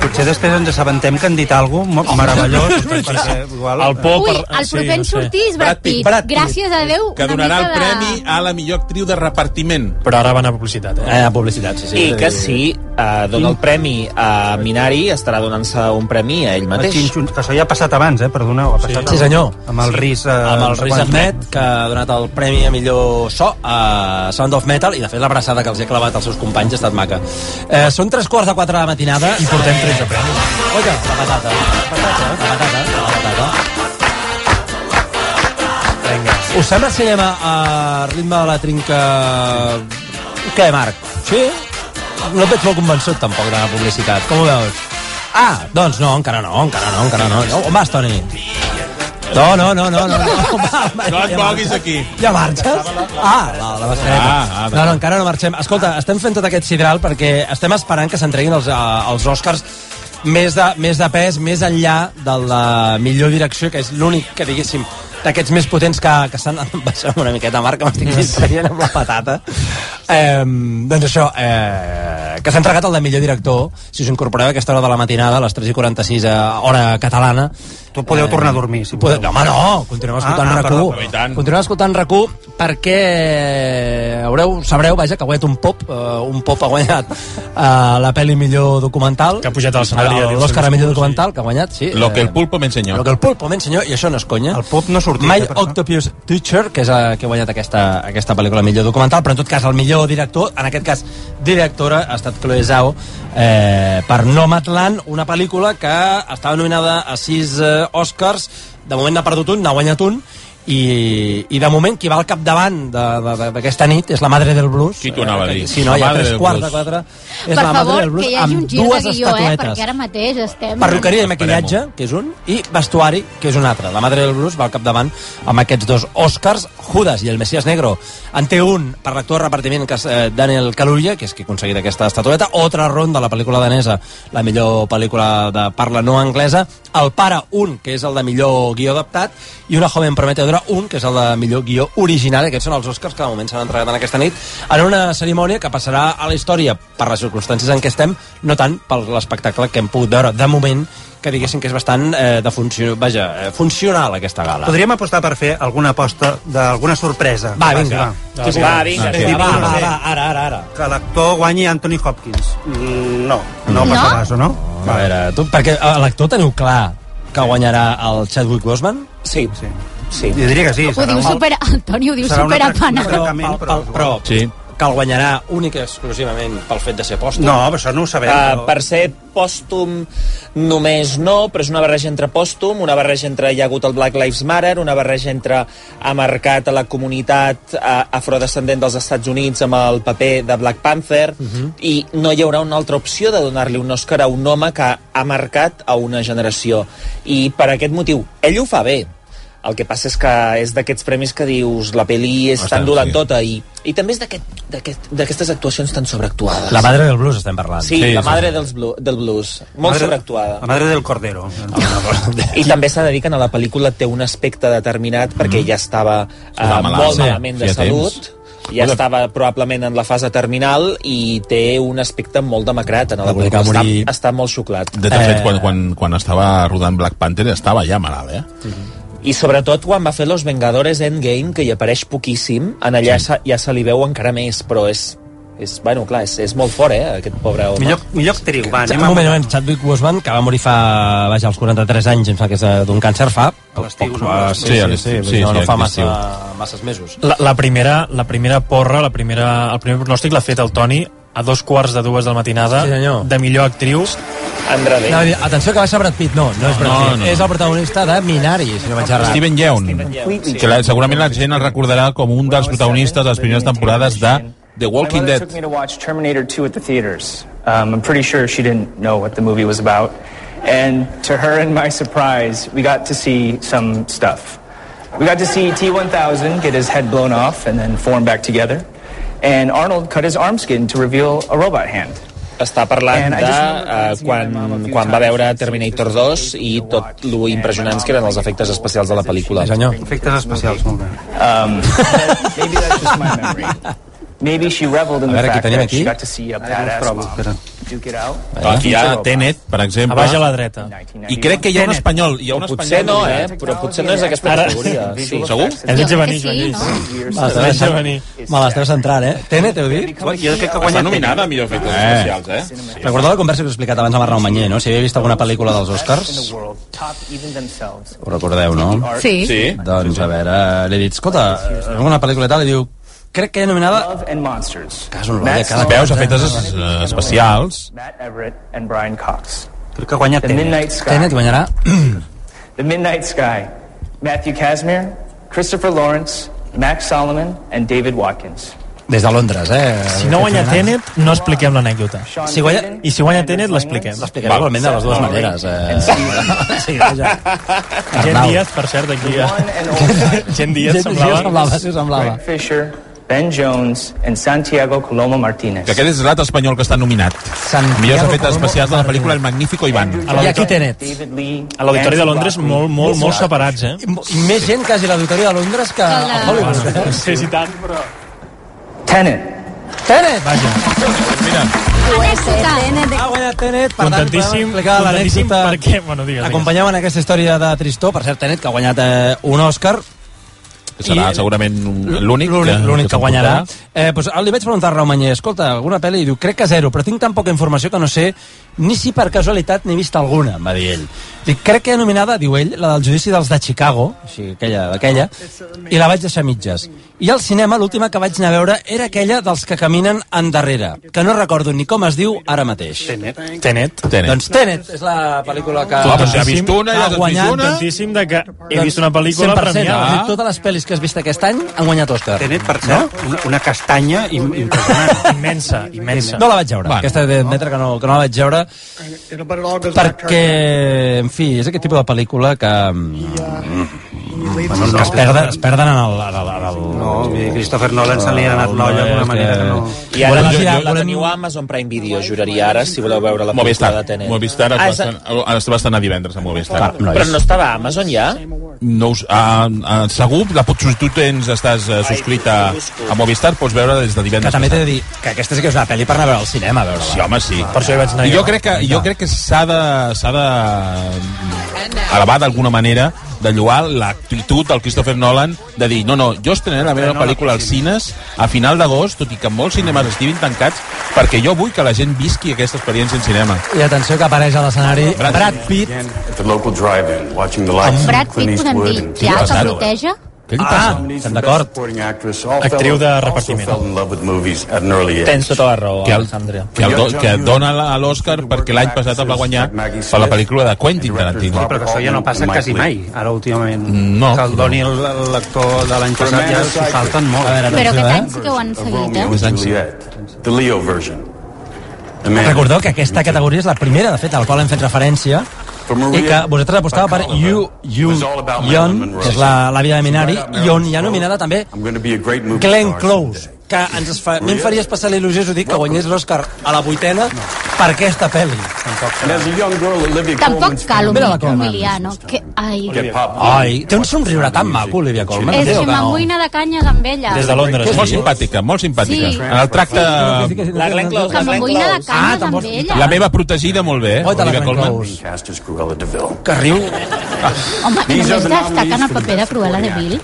Potser després ens assabentem que han dit alguna cosa meravellós. perquè igual... eh,
El pop...
Ui, el proper en sortir és Brad Pitt.
Brad Pitt.
Gràcies a Déu,
Que
una
donarà
mica
el
de...
premi a la millor actriu de repartiment.
Però ara va anar a publicitat, eh?
Eh, a publicitat, sí, sí.
I que si uh, dona el premi a Minari, estarà donant-se un premi a ell
El
mateix.
xinxun, que això ja ha passat abans, eh? Perdoneu, ha passat
Sí, senyor.
Amb el Riz... Eh,
amb el Riz
quan-
Ahmed, que ha donat el premi a millor so a Sound of Metal, i de fet l'abraçada que els he clavat als seus companys ha estat maca. Eh, són tres quarts de quatre de la matinada i portem 13 premis. Oiga, la patata. La patata, la patata. Vinga. Us sembla si anem a, a ritme de la trinca... Què, Marc? Sí? No et veig molt convençut, tampoc, de la publicitat. Com ho veus? Doncs Ah, doncs no, encara no, encara no, encara no. no home, Toni. No, no, no, no, no. no. Home,
No et moguis
ja marxes?
aquí.
Ja marxes? Ah, la, la mascareta.
Ah, ah,
no, no, encara no marxem. Escolta, estem fent tot aquest sidral perquè estem esperant que s'entreguin els, eh, els Oscars més de, més de pes, més enllà de la millor direcció, que és l'únic que diguéssim d'aquests més potents que, que estan baixant una miqueta marca, m'estic distraient amb la patata. Eh, doncs això, eh, que s'ha entregat el de millor director, si us incorporeu a aquesta hora de la matinada, a les 3.46 a eh, hora catalana.
Tu podeu tornar a dormir, si
Podeu,
podeu.
no, home, no, continuem escoltant
Ah, ah,
ah,
perdó,
RAC1.
perdó.
Ah, continuem escoltant RAC1 perquè haureu, sabreu, vaja, que ha guanyat un pop, eh, un pop ha guanyat eh, la pel·li millor documental.
Que ha pujat a l'escenari, eh,
El-
ha dit
L'Òscar a
el
millor
discurs,
documental, que ha guanyat, sí.
Lo que el
eh,
pulpo me enseñó.
Lo que el pulpo m'ensenya, i això no és conya.
El pop no sortia.
My
eh, per això.
Octopus Teacher, que és eh, que ha guanyat aquesta, aquesta pel·lícula millor documental, però en tot cas el millor director, en aquest cas directora, ha estat Chloe Zhao eh, per Nomadland, una pel·lícula que estava nominada a sis eh, Oscars, de moment n'ha perdut un, n'ha guanyat un, i, i de moment qui va al capdavant de- de- de- d'aquesta nit és la Madre del Blues
Qui t'ho anava a dir?
Eh, sí, no,
La
ja
Madre
tres
del
quarts de
Blues.
quatre és
Per
la Madre
favor,
del Blues
que hi hagi un
amb
gir de
dues
guió, eh?
estatuetes
Perquè ara mateix estem...
perruqueria i maquillatge,
Esperem-ho.
que és un, i vestuari, que és un altre. La Madre del Blues va al capdavant amb aquests dos Oscars. Judas i el Messias Negro en té un per l'actor de repartiment, que és eh, Daniel Kaluuya, que és qui ha aconseguit aquesta estatueta. Otra ronda, la pel·lícula danesa, la millor pel·lícula de parla no anglesa. El pare, un, que és el de millor guió adaptat, i una joven prometedora, un, que és el de millor guió original. Aquests són els Oscars que de moment s'han entregat en aquesta nit en una cerimònia que passarà a la història per les circumstàncies en què estem, no tant per l'espectacle que hem pogut veure de moment que diguéssim que és bastant eh, de funció, vaja, eh, funcional aquesta gala.
Podríem apostar per fer alguna aposta d'alguna sorpresa.
Va, vinga.
sí,
Va, vinga,
sí,
va,
va,
va,
sí.
va, ara, ara, ara.
Que l'actor guanyi Anthony Hopkins. Mm, No, no passarà això, no?
A veure, tu, perquè a l'actor teniu clar que guanyarà el Chadwick Boseman?
Sí,
Sí.
sí.
Jo diria que sí.
Ho diu super... El Toni ho diu
serà una
super
atracció,
apanat.
francament, però...
Però,
Sí.
que el guanyarà únic i exclusivament pel fet de ser pòstum?
No, però això no ho sabem.
Uh,
però-
per ser pòstum només no, però és una barreja entre pòstum, una barreja entre hi ha hagut el Black Lives Matter, una barreja entre ha marcat a la comunitat uh, afrodescendent dels Estats Units amb el paper de Black Panther,
Mhm.
i no hi haurà una altra opció de donar-li un Òscar a un home que ha marcat a una generació. I per aquest motiu, ell ho fa bé, el que passa és que és d'aquests premis que dius la pel·li és
Bastant,
tan dolent
sí.
tota i, i també és d'aquest- d'aquest- d'aquestes actuacions tan sobreactuades.
La madre del blues estem parlant.
Sí, sí, la madre dels blu del blues. Molt
Madre-
sobreactuada.
La madre del cordero.
I també s'ha de dir que en la pel·lícula té un aspecte determinat perquè ja estava eh,
Estava malalt,
molt
sí,
malament de
feia
salut.
temps.
Ja
Bueno.
estava probablement en la fase terminal i té un aspecte molt demacrat en la
voler
pel·lícula. Està,
morir.
està molt xuclat.
De fet, quan, quan, quan estava rodant Black Panther estava ja malalt, eh?
I sobretot quan va fer Los Vengadores Endgame, que hi apareix poquíssim, en allà sí. ja se li veu encara més, però és... és bueno, clar, és, és molt fort, eh, aquest pobre home.
Millor-
millor actriu, va,
Un moment, un moment, Chadwick Boseman, que va morir fa, vaja, als 43 anys, em sembla que és eh, d'un càncer, fa... poc- poc-
no?
Sí, sí, sí, sí, sí, no, no fa massa, masses mesos.
La, la, primera, la primera porra, la primera, el primer pronòstic l'ha fet el Toni a dos quarts de dues de la matinada
Sí, senyor.
de millor actriu
Andra
Anava a dir, atenció que va ser Brad Pitt, no, no és Brad
no,
Pitt,
no.
és el protagonista de Minari, si no vaig errat.
Steven Yeun, que la, segurament la gent el recordarà com un dels protagonistes de les primeres temporades de The Walking
My mother
Dead.
took me to watch Terminator 2 at the theaters. Um, I'm pretty sure she didn't know what the movie was about. And to her and my surprise, we got to see some stuff. We got to see T-1000 get his head blown off and then form back together. And Arnold cut his arm skin to reveal a robot hand.
Està parlant
And I
de
just
eh, quan, quan va veure Terminator 2 i tot lo impressionants que eren els efectes especials de la pel·lícula.
Efectes especials, molt bé.
Um, but maybe that's just my memory. Maybe she reveled in
A
the
veure, aquí
fact
tenim
that
aquí.
she got to see a badass mom duke it out.
Aquí hi ha Tenet, per
Ah,
exemple.
Baix a la dreta.
I eh? crec que hi ha un espanyol. Hi ha un
O potser
espanyol
no, eh? Però potser no és aquesta categoria. Sí.
Segur?
El veig a venir,
Joan
Me l'estàs venir. Me l'estàs centrant, eh? Tenet, heu dit?
Està nominada a millor efectes
Eh.
especials, eh?
Recordeu la conversa que us he explicat abans amb Arnau Manyer, no? Si havia vist alguna pel·lícula dels Oscars,
Top even themselves.
ho recordeu, no?
Sí. Sí.
Doncs, a veure, li he dit, escolta, alguna pel·lícula i tal, i diu, crec que he nominada...
And monsters.
Casa Olorella,
Matt
Ah,
cada
Stone,
Veus, efectes es-
Matt
especials.
Matt Everett and Brian Cox.
Crec que guanya
The Midnight
Tenet.
Sky. The Midnight Sky. Matthew Casimir, Christopher Lawrence, Max Solomon and David Watkins.
Des de Londres, eh?
Si no guanya Tenet, no expliquem l'anècdota. Si guanya, I si guanya Tenet, l'expliquem.
L'explicaré igualment de les dues maneres. Eh? Sí, vaja.
Gent
Arnau.
Díaz, per cert, aquí ja. Gent Díaz
Gent Díaz semblava,
semblava.
sí, semblava.
Greg Fisher, Ben Jones and Santiago Coloma Martinez.
Que aquest és l'altre espanyol que està nominat.
Santiago
Millors efectes
Colombo
especials de la pel·lícula El Magnífico Iván.
David Lee,
A l'Auditori de
Anthony
Londres,
Hopkins.
molt, molt, molt separats, eh?
I més gent quasi a l'Auditori de Londres que a Hollywood. eh?
Sí, sí, tant, però...
Tenet.
Tenet! Vaja.
Anècdota.
Ha guanyat Tenet, per tant, podem
Contentíssim,
explicar
contentíssim
l'anècdota.
perquè... Bueno, digues, digues.
Acompanyeu en aquesta història de Tristó, per cert, Tenet, que ha guanyat eh, un Òscar,
Que serà segurament l'únic
l'únic l'únic que
s'emportarà.
guanyarà. Eh, doncs, li vaig preguntar a Rau Manyer, escolta, alguna pel·li? I diu, crec que zero, però tinc tan poca informació que no sé ni si per casualitat n'he vist alguna, em va dir ell. Dic, crec que he nominada, diu ell, la del judici dels de Chicago, així, aquella, aquella, i la vaig deixar a mitges. I al cinema l'última que vaig anar a veure era aquella dels que caminen endarrere, que no recordo ni com es diu ara mateix. Tenet.
Tenet.
Tenet.
Doncs Tenet és la pel·lícula que...
Ah, però si ha vist una, ja
ha
has vist
guanyat
una. Doncs
Contentíssim de que he vist una pel·lícula
100%,
premiada.
és
Ah.
a dir, Totes les pel·lis que has vist aquest any han guanyat Òscar.
Tenet, per cert, una, una castanya im- impressionant.
immensa, immensa.
No la vaig veure.
Bueno.
Bueno, Aquesta he d'admetre que, no, que no la vaig veure perquè, en fi, és aquest tipus de pel·lícula que... mm, Bueno, que es perden, es perden en el... En el, en el no,
Christopher Nolan se li ha
Oh,
anat l'olla d'alguna manera que no...
I ara
Volem
la,
girar-
la, la
volem-
teniu a Amazon Prime Video, juraria ara, si voleu veure la
Movistar.
pel·lícula de Tenet.
Movistar es
Ah,
va,
és a-
estrenar, es va estrenar divendres a Movistar.
Ah, no Però és. no estava a Amazon ja?
No us, a, a, segur, la pots, si tu tens, estàs uh, subscrit a, a Movistar, pots veure des de divendres.
que també t'he de
passat.
dir que aquesta sí que és una pel·li per anar a veure al cinema, a veure-la.
Sí, home, sí.
Ah, Per això hi vaig anar
I
jo.
jo crec que, jo crec que s'ha de, s'ha de mm, elevar d'alguna manera de lloar l'actitud del Christopher Nolan de dir, no, no, jo estrenaré la meva pel·lícula als cines a final d'agost, tot i que molts cinemes estiguin tancats, perquè jo vull que la gent visqui aquesta experiència en cinema.
I atenció que apareix a l'escenari Brad, Brad Pitt,
At the local drive-in, watching the lights
Brad
of Clint
Pitt,
Eastwood
podem dir
and
que
Bruce
ja
Willis.
saboteja
Què li passa? Estem d'acord.
Actriu de repartiment.
Tens tota la raó,
que el,
Alexandria.
que, el, do- que dona la- a l'Oscar perquè l'any passat el va guanyar per la pel·lícula de Quentin Tarantino.
Sí, però que això ja no passa quasi mai, ara últimament.
No.
Que el doni el- l'actor de l'any passat ja s'hi falten molt.
Però aquest any sí que ho han seguit, eh?
The Leo version.
Recordeu que aquesta categoria és la primera, de fet, a la qual hem fet referència, i que vosaltres apostàveu per You, You, Yon, que és la- l'àvia de Minari, i on hi ha nominada també
I'm going to be a great movie.
Glenn Close, que ens es fa, a mi em faria especial il·lusió, us ho dic, que guanyés l'Oscar a la vuitena per aquesta pel·li.
And as a young girl, Olivia
Tampoc
Colman's
cal
Mira la Colman.
humiliar, no? Que, ai,
Get popped.
Ai, té un somriure tan maco, Olivia Colman.
és
Déu,
que m'amoïna de canyes amb ella.
Des de Londres. És molt simpàtica, molt simpàtica.
Sí.
En el tracte... Ah,
La Glenn Close,
Que
la Glenn
m'amoïna de
Close.
canyes amb ella.
La meva protegida molt bé, eh?
Oi, de la
Olivia
Glenn
Colman.
Close.
Cast as Cruella DeVille.
Que riu.
Home,
These
només
are the
destaquen el
nominees for
paper de Cruella de Vil.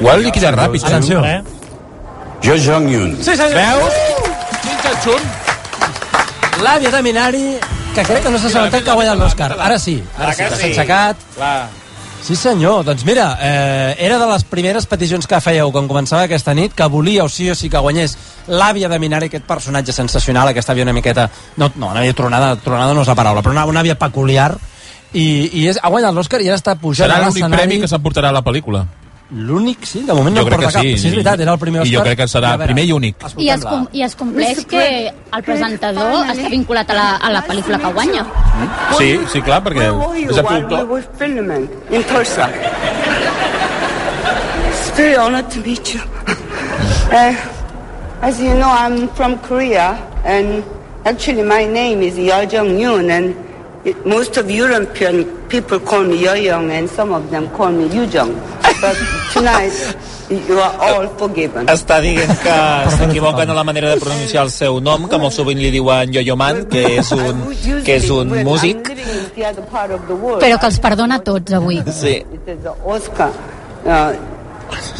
Ho ha liquidat ràpid.
Atenció.
Eh?
Jo Jong Yun.
Sí, senyor.
Veus? Xun.
L'àvia de Minari, que crec que no s'ha assabentat que ha guanyat l'Oscar. Ara sí, ara
Clar
sí,
que
que s'ha
sí.
aixecat.
Clar.
Sí senyor, doncs mira, eh, era de les primeres peticions que fèieu quan començava aquesta nit, que volíeu sí o sí que guanyés l'àvia de Minari, aquest personatge sensacional, aquesta àvia una miqueta... No, no una àvia tronada, tronada no és la paraula, però una, una àvia peculiar, i, i és, ha guanyat l'Oscar i ara està pujant
Serà
a
l'únic premi
l'escenari.
que s'emportarà la pel·lícula.
L'únic, sí, de moment no
Jo crec
porta
que sí.
cap. Sí, és veritat, era el
I
primer Oscar.
jo crec que serà
A veure,
primer i únic.
I es, com, I es compleix que el presentador està vinculat a la, a la pel·lícula que guanya.
Sí, sí, clar, perquè és el productor.
were filming in person. It's very honored to meet you. Uh, as you know, I'm from Korea, and actually my name is Yeo Jung Yoon, and it, most of European people call me Yeo Young, and some of them call me Yoo Jung. But tonight, you are all forgiven.
Està dient que s'equivoquen a la manera de pronunciar el seu nom, que molt sovint li diuen Yo-Yo Man, que és un, que és un
When
músic.
I'm living in the other part of the world.
Però que els perdona a tots avui.
Sí.
It is an Oscar uh,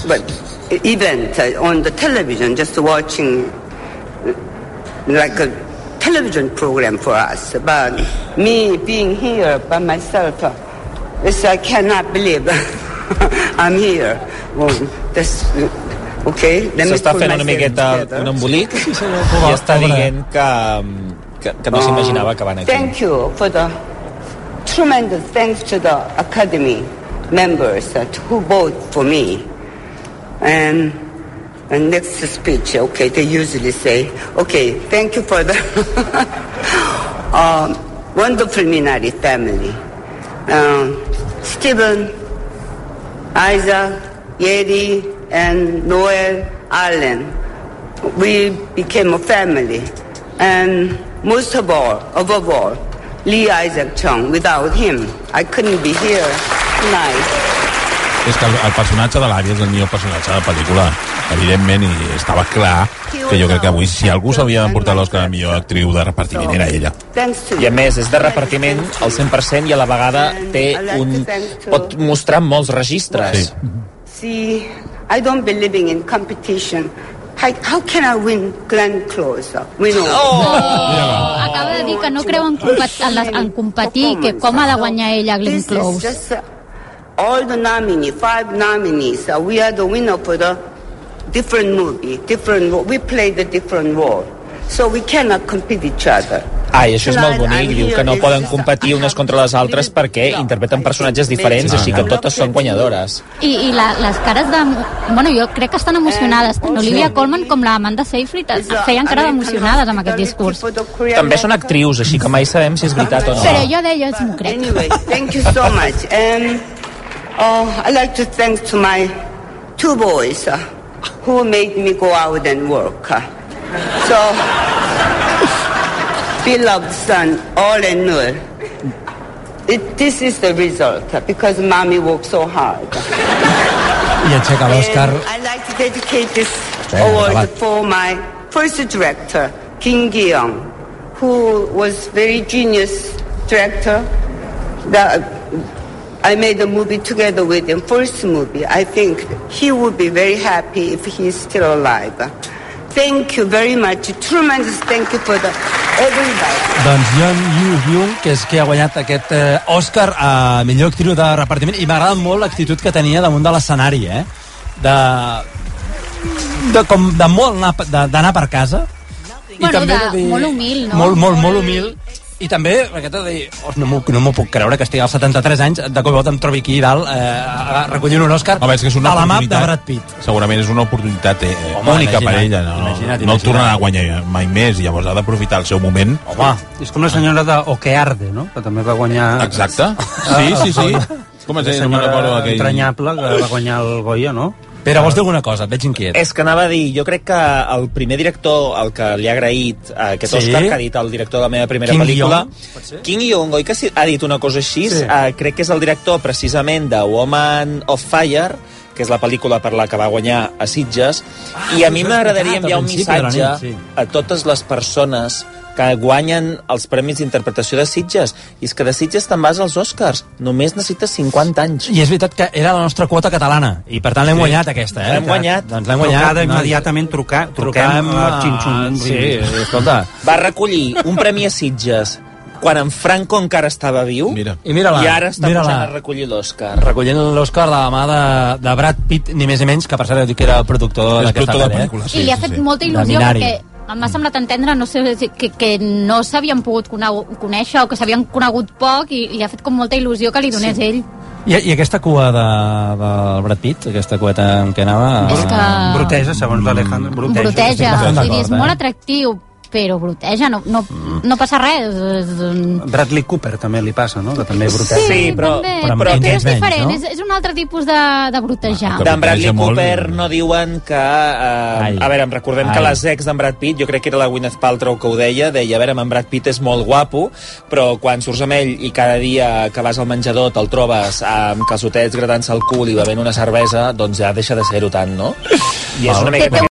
but event uh, on the television, just watching uh, like a television program for us. But me being here by myself, uh, it's, I cannot believe I'm here. Well, that's, uh, okay, let me
S'està
put
fent una
myself
miqueta
together.
un embolic i està dient que, que, que no s'imaginava que van aquí.
Uh, Thank you for the tremendous thanks to the Academy members that who voted for me. And, and next speech, okay, they usually say, okay, thank you for the um, wonderful Minari family. Um, Stephen, Isaac, Yeri, and Noel Allen. We became a family. And most of all, above all, Lee Isaac Chung. Without him, I couldn't be here tonight.
És que el, el personatge de l'àvia és el millor personatge de la pel·lícula, evidentment, i estava clar que jo crec que avui, si algú s'havia d'emportar l'Oscar de millor actriu de repartiment, era ella.
Thanks to
I a més, és de repartiment al 100% i a la vegada té un... pot mostrar molts registres.
Sí.
See, I don't believe in competition. How, how can I win Glenn Close? We know.
Acaba de dir que no creu en, compet en, les, en competir, que com ha de guanyar ella a Glenn
This is
Close.
just uh, all the nominees, five nominees. Uh, we are the winner for the different movie, different. ro- We play the different role, so we cannot compete each other.
Ai, això és molt bonic, diu que no poden competir unes contra les altres perquè interpreten personatges diferents, així que totes són guanyadores.
I, i la, les cares de... Bueno, jo crec que estan emocionades. Tant Olivia Colman com la Amanda Seyfried es- feien cara d'emocionades amb aquest discurs.
També són actrius, així que mai sabem si és veritat o no.
Però jo d'elles m'ho crec.
Anyway, thank you so much. And uh, I'd like to thank to my two boys uh, who made me go out and work. Uh, so, beloved son, all and Noor, it, this is the result uh, because mommy worked so hard.
I aixeca l'Oscar.
And I'd like to dedicate this
Venga,
award
acabat.
for my first director, Kim Gi-young, who was very genius director. The, I made a movie together with him, first movie. I think he would be very happy if he's still alive. Thank you very much. Tremendous thank you for the everybody.
Doncs Yeon Yu-hyun, que és qui ha guanyat aquest eh, Òscar a millor actriu de repartiment, i m'agrada molt l'actitud que tenia damunt de l'escenari, eh? De, de, com, de molt anar, de- d'anar per casa, I
bueno,
també
de,
de dir-
molt humil, no?
molt, molt, molt humil, i també, aquesta de dir, "Os, no m'ho no m'ho puc creure, que estigui als 73 anys, de cop i volta em trobi aquí dalt, eh, a- a- recollint un Òscar,
Home, és que és una
a la mà de
oportunitat.
Brad Pitt.
Segurament és una oportunitat eh, eh,
Home,
única per ella.
imagina't,
No,
imagina't,
no
imagina't.
el tornarà a guanyar mai més, llavors ha d'aprofitar el seu moment.
Home,
És com la senyora de Oquearde, no? Que també va guanyar...
Exacte. Sí, sí, sí.
Ah.
Com es
La
deia? No me'n recordo
senyora
aquell-
entranyable que va guanyar el Goya, no?
Pere, vols dir alguna cosa? Et veig inquiet.
És que anava a dir, jo crec que el primer director, el que li ha agraït a aquest
Sí?
sí? Òscar, que ha dit el director de la meva primera
Kim
pel·lícula...
Yong?
King Yong, oi que sí? ha dit una cosa així? Sí. Uh, crec que és el director, precisament, de Woman of Fire, que és la pel·lícula per la que va guanyar a Sitges, i a mi
Ah, això és
m'agradaria
veritat,
enviar
al
un
principi de la
missatge
nit, sí.
a totes les persones que guanyen els Premis d'Interpretació de Sitges. I és que de Sitges te'n vas als Oscars. Només necessites 50 anys.
I és veritat que era la nostra quota catalana, i per tant l'hem
Sí.
guanyat, aquesta, eh?
L'hem guanyat.
Doncs l'hem guanyat.
Trucada
nois.
immediatament, trucar, truquem,
Truquem
truquem
a-
a Xinxun.
Sí, escolta.
Va recollir un premi a Sitges quan en Franco encara estava viu mira.
I mira-la,
i ara està
mira-la.
posant a recollir l'òscar.
Recollint l'Òscar de la mà de, de Brad Pitt, ni més ni menys, que per cert he dit que era el productor d'aquesta eh?
productor de
pel·li,
pel·lícules,
I li ha fet molta
De
il·lusió
Minari.
perquè m'ha semblat entendre no sé, si- que, que no s'havien pogut conegu- conèixer o que s'havien conegut poc i li ha fet com molta il·lusió que li donés sí. ell.
I, I aquesta cua de, del Brad Pitt, aquesta cueta en què anava...
És que-
Brutesa, segons l'Alejandro. Mm. Brutesa.
Broteja, o sigui, és molt
eh?
atractiu, però broteja, no, no, no passa res. eh,
Bradley Cooper també li passa, no? Que també
Sí,
broteja.
Sí, però-
també, però,
amb
és
menys,
diferent,
no?
és, és un altre tipus de, de brotejar.
D'en Bradley
molt.
Cooper no diuen que... Eh, a veure, em recordem
Ai.
Ai. que les ex d'en Brad Pitt, jo crec que era la Gwyneth Paltrow que ho deia, deia, a veure, en Brad Pitt és molt guapo, però quan surts amb ell i cada dia que vas al menjador te'l trobes amb calçotets gratant-se el cul i bevent una cervesa, doncs ja deixa de ser-ho tant, no? I és
Val.
una miqueta...
Té- té